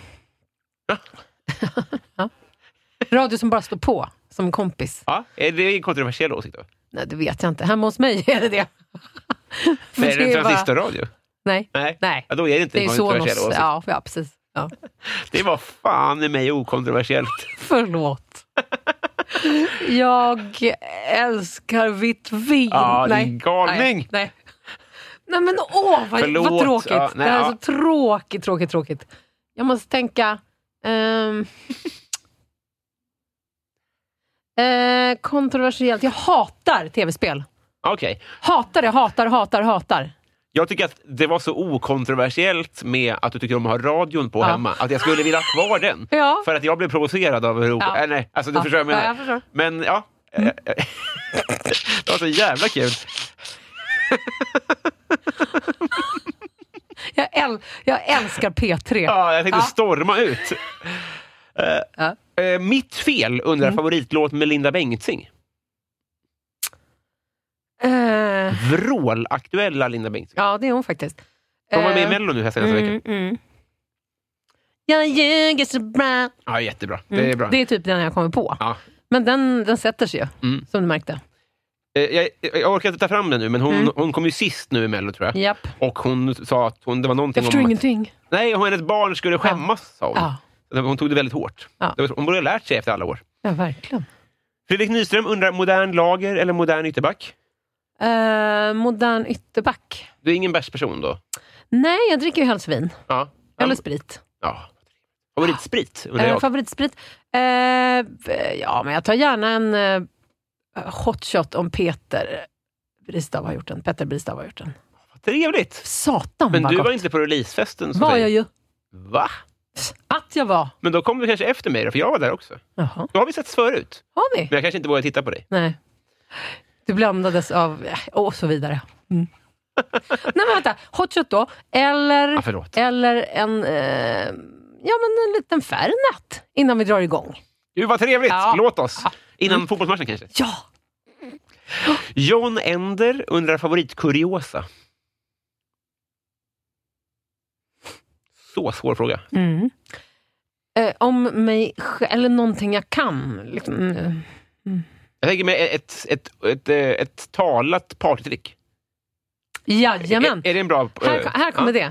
Va? Ja. radio som bara står på, som kompis. Ja, är det en kontroversiell åsikt då? Nej, det vet jag inte. Hemma hos mig är det det. För Nej, är det är en bara- transistorradio? Nej, Nej. nej. Ja, då är det inte Det är en ju kontroversiell Sonos. åsikt. Ja, ja, precis. Ja. Det var fan i mig okontroversiellt. Förlåt. Jag älskar vitt vin. Ja, nej. din galning. Nej, nej. nej men åh, vad, Förlåt. vad tråkigt. Ja, nej, det här är ja. så tråkigt, tråkigt, tråkigt. Jag måste tänka... ehm, eh, kontroversiellt. Jag hatar tv-spel. Okej. Hatar det, hatar, hatar, hatar. Jag tycker att det var så okontroversiellt med att du tycker om att ha radion på Ja. hemma, att jag skulle vilja ha kvar den. Ja. För att jag blev provocerad av hur... Ja. Äh, nej, alltså du Ja. förstår vad jag menar. Ja, jag förstår. Mm. Men ja. det var så jävla kul. Jag, äl- jag älskar P3. Ja, jag tänkte storma ut. Eh, Ja. Mm. eh, mitt fel undrar favoritlåt med Linda Bengtzing. Eh, Vrålaktuella Linda Bengtzing. ja, det är hon faktiskt. Hon var med i Eh, Mello nu här senaste veckan. mm. Jag ljuger så bra. Ja, jättebra. Det är bra. Det är typ den jag kommer på. Ja. Men den, den sätter sig ju, Mm. som du märkte. Eh, Jag, jag orkar inte ta fram den nu, men hon, Mm. hon kom ju sist nu i Mello, tror jag. Japp. Och hon sa att hon, det var någonting Jag förstår om... ingenting. Att, nej, hon, hennes barn skulle skämmas, sa hon. Ja. Hon tog det väldigt hårt. Ja. Det var- Hon borde ha lärt sig efter alla år. ja, verkligen. Fredrik Nyström undrar, modern lager eller modern ytterback? Eh, modern ytterback. Du är ingen bärsperson då? Nej, jag dricker ju helst vin. Ja. Eller sprit. ja. Favoritsprit, undrar Eh, jag. favoritsprit. Eh, ja, men jag tar gärna en eh, hot shot om Peter Bristav har gjort den. Petter Bristav har gjort den. Trevligt! Satan Men vad du gott. var inte på releasefesten. så var säger- jag ju. Va? Att jag var. Men då kom du kanske efter mig, då, för jag var där också. Jaha. Då har vi setts förut, Har ni? men jag kanske inte vågar titta på dig. Nej. Du blandades av... eh, Och så vidare. Mm. Nej men vänta, hot shot då. Ah, Eller, förlåt. eller en, eh, ja, men en liten Fernet innan vi drar igång. Gud vad trevligt! Ja. Låt oss! Innan fotbollsmatchen kanske. Ja! John Ender undrar favoritkuriosa. så svår fråga. Mm. Eh, om mig sj- eller någonting jag kan. Liksom, eh, Jag tänker mig ett, ett, ett, ett, eh, ett talat partytrick. Jajamän, Är, är det en bra... eh, här, ko- här kommer ja.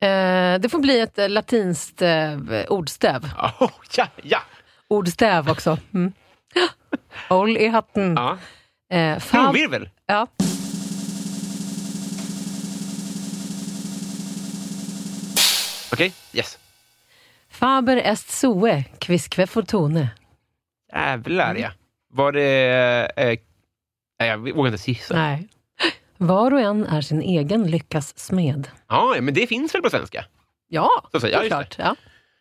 det. Eh, det får bli ett eh, latinskt eh, ordstäv. Oh, ja, ja. Ordstäv också. Mm. Håll i hatten. ja. Eh, fab- Trumvirvel! ja. Okej, yes. Faber est sue, quisque fortune. Jävlar Mm. ja. Var det... Eh, nej, jag vågar inte gissa. Nej. Var och en är sin egen lyckas smed. Ja, men det finns väl på svenska? Ja, Så säger jag, såklart. Ja.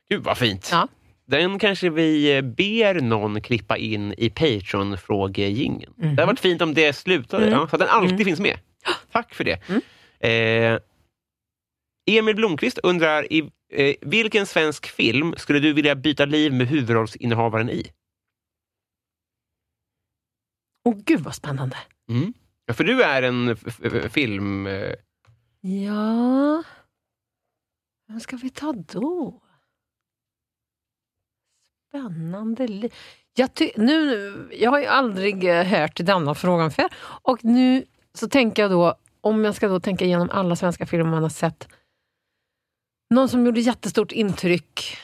Gud vad fint. Ja. Den kanske vi eh, ber någon klippa in i Patreon-frågejingeln. Det Mhm. hade varit fint om det slutade, Mm. ja, så att den alltid finns med. Tack för det. Eh, Emil Blomqvist undrar, i, eh, vilken svensk film skulle du vilja byta liv med huvudrollsinnehavaren i? Åh gud vad spännande. Ja, för du är en f- f- film... Eh, Ja... Vem ska vi ta då? Spännande liv. Jag, ty- nu, jag har ju aldrig eh, hört denna frågan förr. Och nu så tänker jag då, om jag ska då tänka igenom alla svenska filmer man har sett. Någon som gjorde jättestort intryck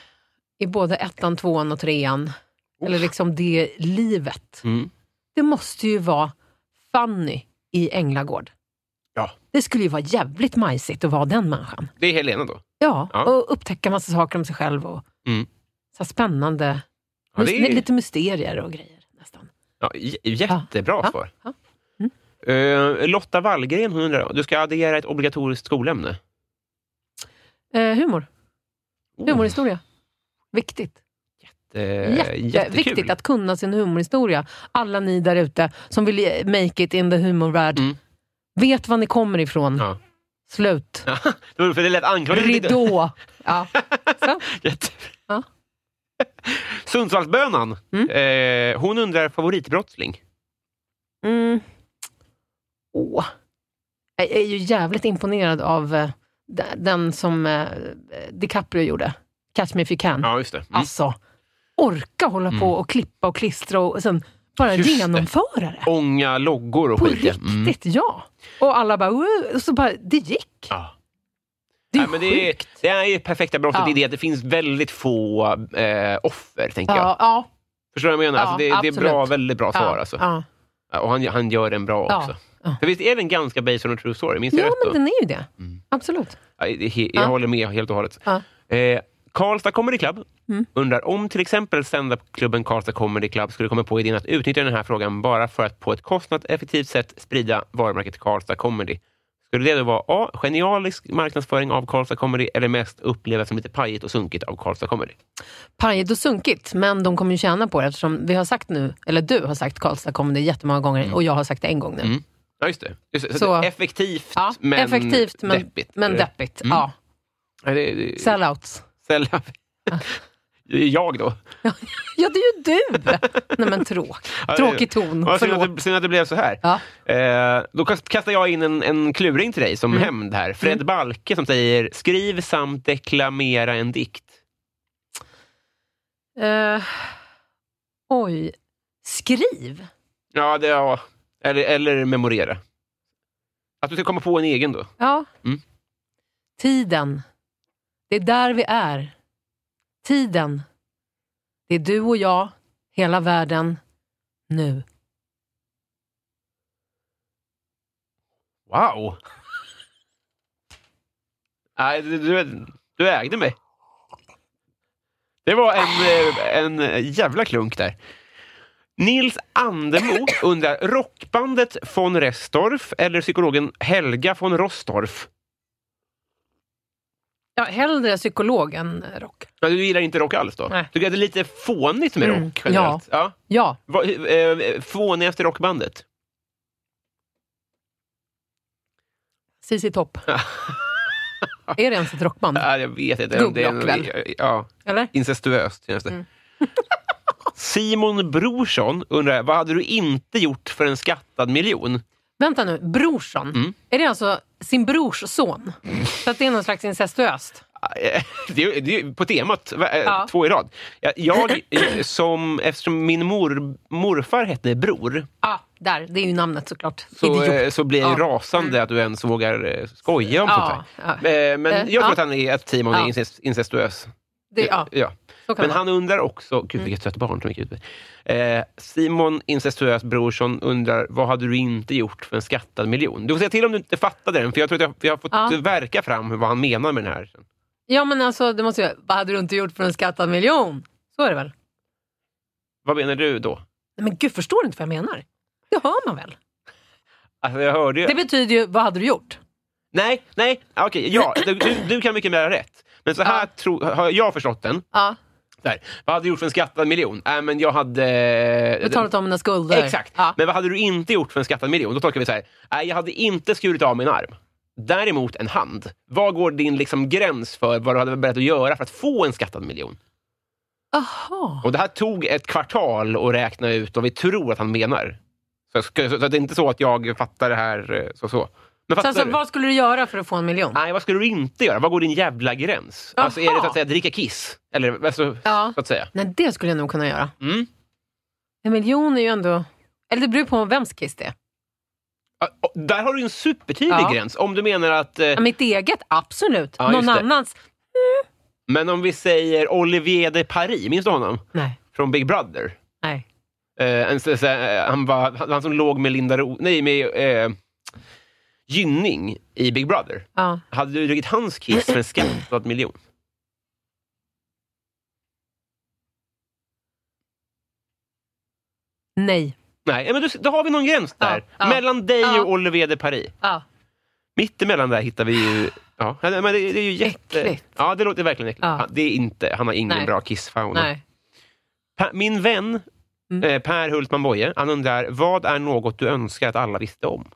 i både ettan, tvåan och trean. Eller liksom det livet. mm. Det måste ju vara Fanny i Änglagård. Ja. Det skulle ju vara jävligt majsigt att vara den människan. Det är Helena då. Ja, Ja. och upptäcka massa saker om sig själv. Och Mm. så här spännande, Ja, det är, lite mysterier och grejer. nästan. ja, j- jättebra Ja, svar. ja. Eh, Lotta Wallgren hon undrar, du ska addera ett obligatoriskt skolämne. Eh, humor, Oh. humorhistoria. Viktigt. Jätte, Jätteviktigt att kunna sin humorhistoria. Alla ni där ute som vill eh, make it in the humorvärld. Mm. Vet var ni kommer ifrån. Ja. Slut. Det var för det lät anklagande. Ridå. Ja. Så. Jätte- Ja. Sundsvallsbönan. Mm. Eh, hon undrar favoritbrottsling. Mm. Åh. Jag är ju jävligt imponerad av eh, de- den som eh, DiCaprio gjorde. Catch me if you can. Ja, just det. Mm. Alltså, orka hålla på och klippa och klistra och sen bara Just det. genomföra det. Ånga loggor och På skit. ja. Mm. riktigt, ja. Och alla bara, "Wow", och så bara, det gick. Ja. Det är Nej, men det, är, sjukt. det är ju perfekta brottet Ja. i det att det finns väldigt få eh, offer, tänker jag. Ja, ja, Förstår du vad jag menar? Ja, alltså, det, det är bra, absolut. väldigt bra svar. ja, Alltså. ja. Ja, Och han, han gör den bra Ja, också. ja. För visst är den ganska based on a true story? Minns jag ja, rätt? då? men den är ju det. Mm. Absolut. Ja, det- he- Jag Ja. håller med helt och hållet. Ja. Eh, Karlstad Comedy Club Mm. undrar om till exempel standupklubben Karlstad Comedy Club skulle komma på idén att utnyttja den här frågan bara för att på ett kostnadseffektivt sätt sprida varumärket Karlstad Comedy. Skulle det då vara A. Genialisk marknadsföring av Karlstad Comedy eller mest upplevas som lite pajigt och sunkigt av Karlstad Comedy? pajigt och sunkigt, men de kommer ju tjäna på det eftersom vi har sagt nu, eller du har sagt Karlstad kommer det jättemånga gånger och jag har sagt det en gång nu. Mm. Ja, just det. Just det. Så Så- det är effektivt, Ja, men effektivt men deppigt. Eh, mm. Men deppigt. Ja. Ja, det- det- Sellouts. Sälja. Det är Jag då. Ja, det är ju du! Nej men tråk. Ja, tråkig ton. Ja, synd, Mm, Förlåt. att det, synd att det blev så här. Ja. Eh, då kast- kastar jag in en, en kluring till dig som Mm. hämnd här. Fred Balke som säger skriv samt deklamera en dikt. Eh, oj. Skriv. Ja, det, ja. Eller, eller memorera. Att du ska komma på en egen då. Ja. Mm. Tiden. Det är där vi är. Tiden. Det är du och jag, hela världen, nu. Wow! Nej, du, du, du ägde mig. Det var en, eh, en jävla klunk där. Nils Andemo undrar, rockbandet von Restorff eller psykologen Helga von Rostorff? Ja, hellre psykolog än rock. Ja, du gillar inte rock alls då? Nej. Du tycker att det är lite fånigt med Mm, rock generellt? Ja. Ja, Vad- eh, Fånigaste rockbandet? ZZ Topp. är det ens ett rockband? Ja, jag vet inte. om det är en- Gubbrock väl? Ja. Eller? Incestuöst känns det. Mm. Simon Brorsson undrar, vad hade du inte gjort för en skattad miljon? Vänta nu, brorson? Mm. Är det alltså sin brors son? Så att det är någon slags incestuöst? Eh, det, är- det, är på temat, va- eh, Ja. två i rad. Jag, jag eh, som, eftersom min mor, morfar hette Bror, Ja, Ah, där. Det är ju namnet såklart. så, Idiot. eh, så blir jag ju Ja. Mm. rasande att du ens vågar eh, skoja om Ja, sånt ja. här. Eh, Men Eh, jag tror ja. att han är ett team om Ja. är incest, incestuös. Det, ja. Ja. Så kan Men det vara. Mm. han undrar också, gud vilket sött barn som gick ut. Eh, Simon incestuös brorsson undrar, vad hade du inte gjort för en skattad miljon? Du får säga till om du inte fattade den, för jag tror att jag, jag har fått Ja. verka fram vad han menar med den här. ja, men alltså, det måste ju... Vad hade du inte gjort för en skattad miljon? Så är det väl? Vad menar du då? Nej, men gud, förstår du inte vad jag menar? Det hör man väl? Alltså, jag hörde ju... Det betyder ju, vad hade du gjort? Nej, nej, ah, okej, ja, du, du, du kan mycket mer rätt. Men så här tro, har jag förstått den. Ja, Så här, vad hade du gjort för en skattad miljon? Äh, men jag hade... eh, betalat av mina skulder. Exakt. Ja. Men vad hade du inte gjort för en skattad miljon? Då tolkar vi så här. Nej, jag hade inte skurit av min arm. Däremot en hand. Vad går din liksom gräns för vad du hade varit beredd att göra för att få en skattad miljon? Aha. Och Det här tog ett kvartal att räkna ut vad vi tror att han menar. Så, jag ska- så, så att det är inte så att jag fattar det här eh, så. så. Men Så fattar alltså, du? vad skulle du göra för att få en miljon? Nej, vad skulle du inte göra? Vad går din jävla gräns? Alltså, är det så Jaha. att säga dricka kiss? Eller alltså, Ja. så att säga. Nej, det skulle jag nog kunna göra. Mm. En miljon är ju ändå... Eller det beror på vems kiss det är. Ja, och Där har du ju en supertydlig Ja. gräns. Om du menar att... eh, Ja, Mitt eget, absolut. Ja, just Någon det. annans? Men om vi säger Olivier de Paris, minns du honom? Nej. Från Big Brother. Nej. Eh, en, så, så, eh, han, var, han, han som låg med Linda Ro, nej, med eh, Gynning i Big Brother. Ja. Hade du druckit hans kiss för en skattad miljon? Nej. Nej, men då, då har vi någon gräns Ja, där. ja, Mellan dig ja. och Olivier de Paris. Ja. Mitt emellan där hittar vi ju... Ja, men det, det är ju jätte... Äckligt. Ja, det låter verkligen äckligt. Ja. Han, det är inte, han har ingen Nej. bra kissfauna. Nej. Pa, min vän Mm. eh, Per Hultman Boye, han undrar, vad är något du önskar att alla visste om?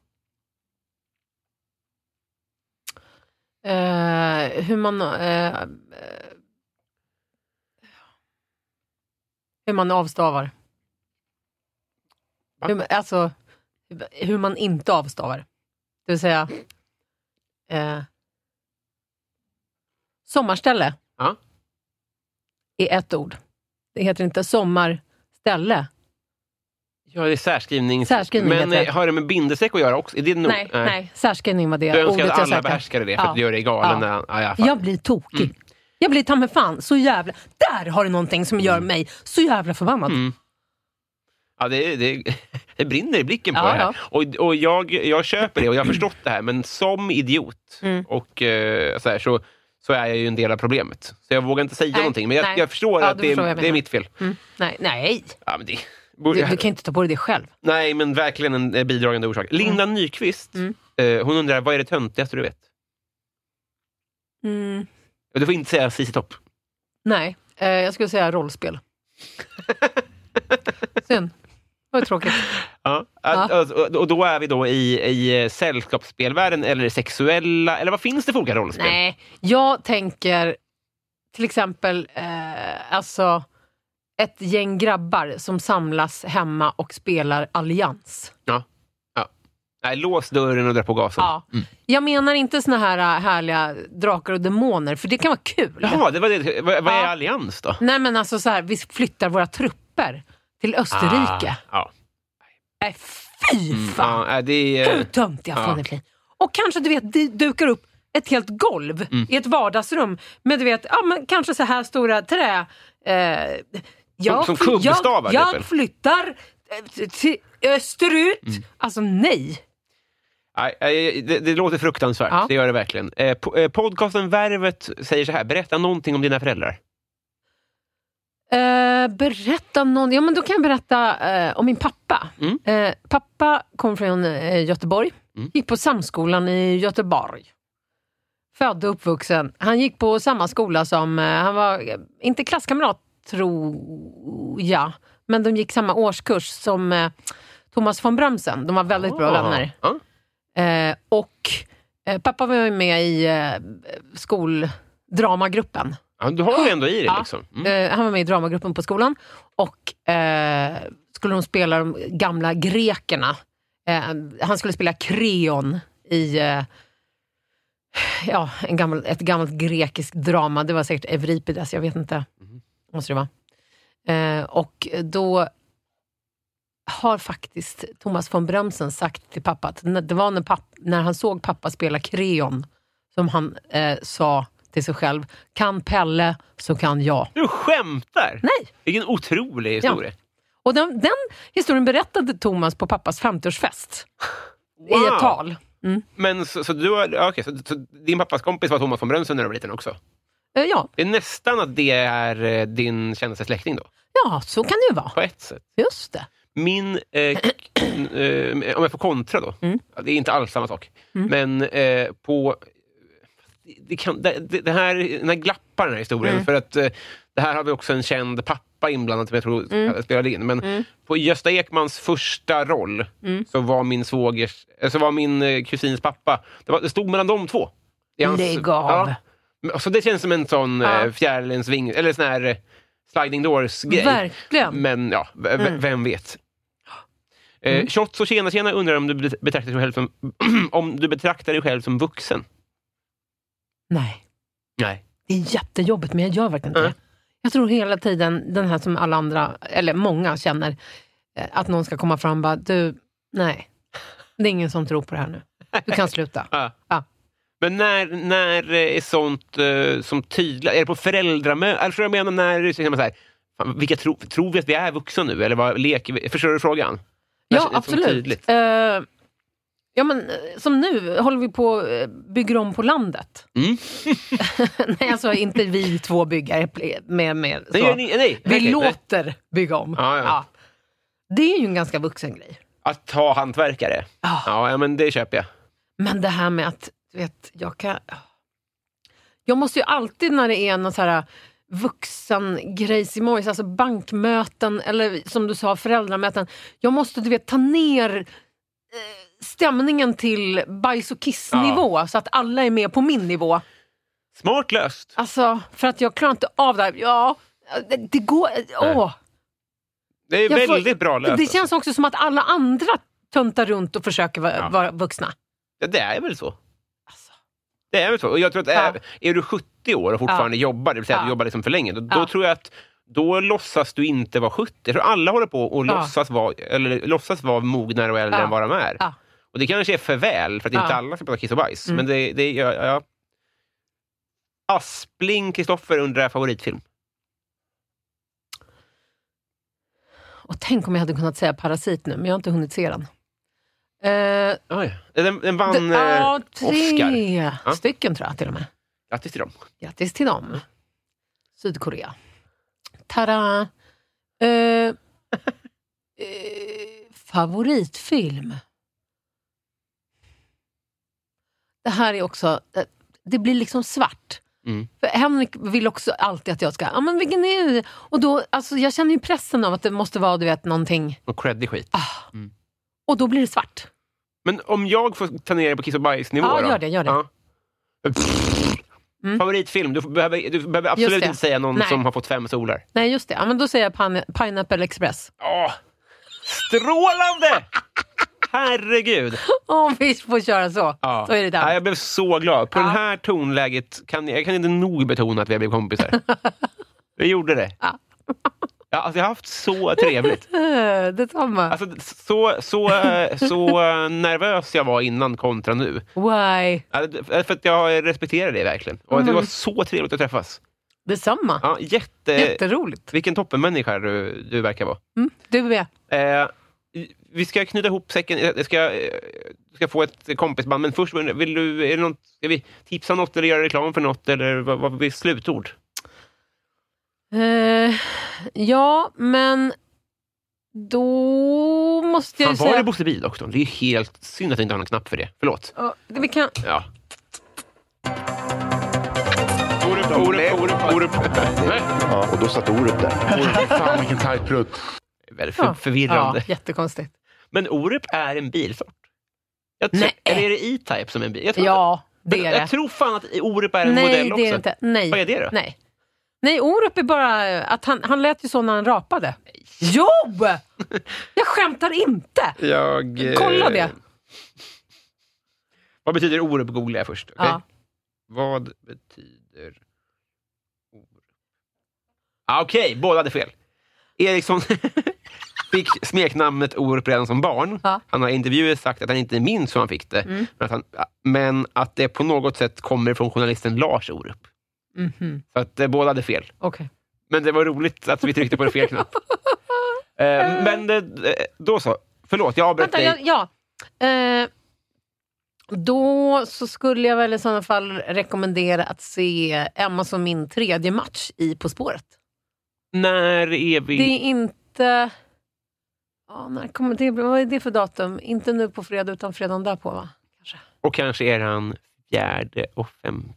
Eh, hur man... eh, eh, hur man avstavar. Va? Hur, man- alltså, hur man inte avstavar. Det vill säga... eh, sommarställe Ja. är ett ord. Det heter inte sommarställe. Ja, det är särskrivning. Särskrivning men heter det. eh, har det med bindestreck att göra också? Är det nog? eh, Nej, nej. särskrivning var det Du önskar att alla sökte. behärskade det, för Ja. att det gör dig galen. Ja. När, ja, jag, Jag blir tokig. Jag blir ta mig fan så jävla... Där har du någonting som gör mig så jävla förbannad. ja, det, det, det brinner i blicken på Ja, det här. ja. Och, och jag, jag köper det och jag har förstått det här, men som idiot Mm. och, eh, så, här, så, så är jag ju en del av problemet. Så jag vågar inte säga Nej, någonting, men jag, nej. jag förstår Ja, att du det, är- förstår vad jag det är menar. mitt fel. Mm. Nej, nej. Ja, men det, Du, du kan inte ta på dig det själv. Nej, men verkligen en eh, bidragande orsak. Linda Nyqvist, eh, hon undrar, vad är det töntigaste du vet? Mm. Du får inte säga ZZ Topp. Nej, eh, jag skulle säga rollspel. Synd. Det var ju tråkigt. Ja. Ja. Att- att- Och då är vi då i, i eh, sällskapsspelvärlden eller det sexuella, eller vad finns det för olika rollspel? Nej, jag tänker till exempel eh, alltså ett gäng grabbar som samlas hemma och spelar allians. Ja. Ja. Nej, lås dörren och dra på gasen. Ja. Jag menar inte såna här eh, härliga drakar och demoner, för det kan vara kul. Jaha, det var det. Vad, vad är Ja. allians då? Nej men alltså så här, vi flyttar våra trupper till Österrike. Ah, Mm. ja. Nej fy fan! Ja, nej, det är, Hur tönt jag ja. får det bli. Och kanske du vet, det dukar upp ett helt golv Mm. i ett vardagsrum med du vet, ja, men kanske så här stora trä... Eh, som fly- kubbstavar, Jag, typ. jag flyttar eh, till österut. Mm. Alltså nej. nej, nej, det, det låter fruktansvärt. Ja. Det gör det verkligen. Eh, po- eh, podcasten Värvet säger så här, berätta någonting om dina föräldrar. Eh, berätta om någon... Ja, men då kan jag berätta eh, om min pappa. Mm. Eh, pappa kom från eh, Göteborg. Mm. Gick på Samskolan i Göteborg. Född och uppvuxen. Han gick på samma skola som... Eh, han var eh, inte klasskamrat, tror jag. Men de gick samma årskurs som eh, Thomas von Brömsen. De var väldigt bra Ah. vänner. Ja. Eh, och eh, pappa var ju med i eh, skoldramagruppen. Ja, du har ju ändå i det. Ja. Liksom. Mm. Eh, han var med i dramagruppen på skolan och eh, skulle de spela de gamla grekerna. Eh, han skulle spela Kreon i eh, ja, en gammal, ett gammalt grekiskt drama. Det var säkert Euripides, jag vet inte. Måste det vara. Eh, och då har faktiskt Thomas von Brömsen sagt till pappa att när- det var när, papp, när han såg pappa spela Kreon som han eh, sa till sig själv, kan Pelle så kan jag. Du skämtar? Nej! Vilken otrolig historia. Och den, den historien berättade Thomas på pappas 50-årsfest. I Wow. ett tal. Mm. Men så, så, du har, ja, okej, så, så din pappas kompis var Thomas von Brömsen när du var liten också? Eh, Ja. Det är nästan att det är eh, din kändaste släkting då, ja, så kan det ju vara. på ett sätt. Just det. Min, eh, k- eh, om jag får kontra då, Mm. Ja, det är inte alls samma sak, men eh, på... Det, kan, det, det det här, den här glappar den här historien, Mm. för att eh, det här har vi också en känd pappa inblandad som jag tror Mm. spelade in. Men på Gösta Ekmans första roll Mm. så var min svågers, eh, så var min eh, kusins pappa, det, var, det stod mellan de två. I hans- Lägg av. Ja. Men- så det känns som en sån Ja. eh, fjärilens ving, eller sån här eh, sliding doors-grej. Verkligen. Men ja, v- v- Mm. vem vet. Eh, Shots och tjena tjena undrar om du bet- betraktar dig själv som, om du betraktar dig själv som vuxen. Nej, Nej. det är jättejobbigt men jag gör verkligen inte Nej. det. Jag tror hela tiden, den här som alla andra, eller många känner, eh, att någon ska komma fram och bara, du, nej. Det är ingen som tror på det här nu. Du kan sluta. Ja. Ja. Men när, när eh, är sånt eh, som tydligt? Är det på föräldramöten? Alltså jag menar när så är man så här, fan, vilka tro, tror vi att vi är vuxna nu? Eller vad leker vi? Förstår du frågan? När Ja, känns Alltså, det som absolut. tydligt? Eh, ja, men, eh, som nu håller vi på eh, bygger om på landet. Mm. nej, alltså inte vi två bygger. eh, Med, med, så. Nej, nej, nej, nej. vi Okej, nej. låter bygga om. Ja, ja. Det är ju en ganska vuxen grej. Att ta hantverkare? Ja. Ja, ja, men det köper jag. Men det här med att, du vet, jag kan... Jag måste ju alltid när det är någon så här äh, vuxen grejs i morgon, alltså bankmöten eller som du sa föräldramöten. Jag måste du vet ta ner eh, stämningen till bajs och kissnivå så att alla är med på min nivå. Smart löst. Alltså för att jag klarar inte av det här. Ja, det, det går... Åh. Det är Jag får- väldigt bra löst. Det känns också som att alla andra töntar runt och försöker vara, Ja. vara vuxna. Ja, det är väl så. Alltså. Det är väl så. Och jag tror att är, är du 70 år och fortfarande jobbar, det vill säga att Ja. du jobbar liksom för länge, då, Ja. då tror jag att då låtsas du inte vara 70. Jag tror alla håller på och Ja. låtsas, vara, eller, låtsas vara mognare och äldre Ja. än vad de är. Ja. Och det kanske är för väl, för att Ja. inte alla ska prata kiss och bajs. Mm. Men det, det ja, ja. Aspling Kristoffer undrar favoritfilm. Och tänk om jag hade kunnat säga Parasit nu, men jag har inte hunnit se den. Eh, Oj. Den, den vann det- eh, ja, Oscar. tre Ja. stycken tror jag till och med. Grattis till dem. Grattis till dem. Sydkorea. Tada! Eh, eh, favoritfilm? Det här är också... eh, Det blir liksom svart. Mm. För Henrik vill också alltid att jag ska... Ja, men vilken är det?" Och då, alltså, jag känner ju pressen av att det måste vara du vet, någonting... Och creddig skit. Ah. Mm. Och då blir det svart. Men om jag får ta ner det på kiss och bajsnivå Ja, då? gör det, gör det. Ja. Mm. Favoritfilm? Du får- behöver, du behöver absolut Just det. inte säga någon Nej. som har fått fem solar. Nej, just det. Ja, men då säger jag pine- Pineapple Express. Åh, strålande! Herregud! Om vi får köra så, Ja. då är det Ja, där. jag blev så glad. På Ja. det här tonläget kan jag, jag kan inte nog betona att vi har blivit kompisar. Vi gjorde det. Ja. Ja, alltså, jag har haft så trevligt. Eh, Detsamma. Alltså, så, så, eh, så eh, nervös jag var innan kontra nu. Why? Ja, det- För att jag respekterar dig verkligen. Och Det var så trevligt att träffas. Detsamma. Ja, jätte, Jätteroligt. Vilken toppenmänniska du, du verkar vara. Mm, du med. Eh, vi ska knyta ihop säcken. Jag ska, eh, ska få ett kompisband, men först undrar jag, vill du, är det något, ska vi tipsa om något eller göra reklam för något? Eller vad, vad blir slutord? Eh, ja, men då måste jag Fan, ju var säga... är Bosse Bildoktorn? Det är ju helt synd att jag inte har någon knapp för det. Förlåt. Ja, vi kan... Ja. Orup, Orup, Orup, Orup. Ja, och då satt Orup där. Orup, fan vilken tajt prutt. Väldigt Ja. för, förvirrande. Ja, jättekonstigt. Men Orup är en bilsort. Jag tror, Nej. Eller är det E-Type som är en bil? Jag tror, Ja, det är jag, det. tror fan att Orup är en Nej, modell det är också. det inte. Nej. Vad är det då? Nej. Nej, Orup är bara att han, han lät ju så när han rapade. Nej. Jo! Jag skämtar inte! Jag... eh, Kolla det. Vad betyder orup? Googlar jag först. okej? Ja. Vad betyder orup? Ah, Okej, båda hade fel. Eriksson fick smeknamnet Orup redan som barn. Han har i intervjuer sagt att han inte minns hur han fick det, Mm. men, att han, men att det på något sätt kommer från journalisten Lars Orup. Mhm. Så att eh, båda hade fel. Okej. Men det var roligt att vi tryckte på den fel knapp. eh, men det, då så. Förlåt, jag avbröt Vänta, dig. jag, ja. Eh, då så skulle jag väl i sådana fall rekommendera att se Emma som min tredje match i På spåret. När är vi... Det är inte... Ja, när kommer det, bli- vad är det för datum? Inte nu på fredag, utan fredagen därpå, va? Och kanske är han fjärde och femte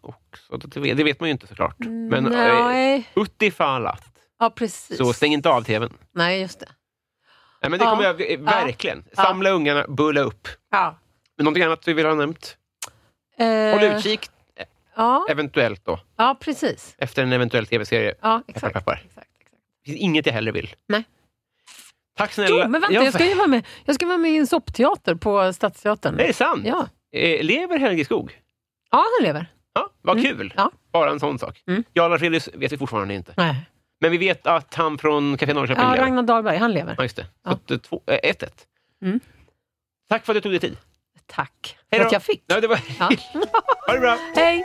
också. Det vet, det vet man ju inte såklart. Men eh, Nej. utifall att, Ja, precis. så stäng inte av tvn. Nej, just det. Nej, men det Ja. kommer jag eh, verkligen. Samla ungarna, bulla upp. Ja. Men någonting annat vi vill ha nämnt? Håll Eh, utkik, Ja, eventuellt då, ja precis. efter en eventuell tv-serie. Ja, Peppar, exakt. peppar. Det finns inget jag hellre vill. Nej. Tack snälla. Jo, men vänta, jag ska ju vara med, jag ska vara med i en soppteater på Stadsteatern. Det är sant. Ja. Eh, lever Helge Skog? Ja, han lever. Ja, vad Mm. kul. Ja. Mm. Bara en sån sak. Jag och Lars Villius vet vi fortfarande inte. Nej. Men vi vet att han från Café Norrköping Ja, lever. Ragnar Dahlberg, han lever. Ja, just det. Så att, eh, två- eh, 1-1. Mm. Tack för att du tog dig tid. Hej Tack för då. att jag fick. Ja, det var... Ja. ha det bra. Hej!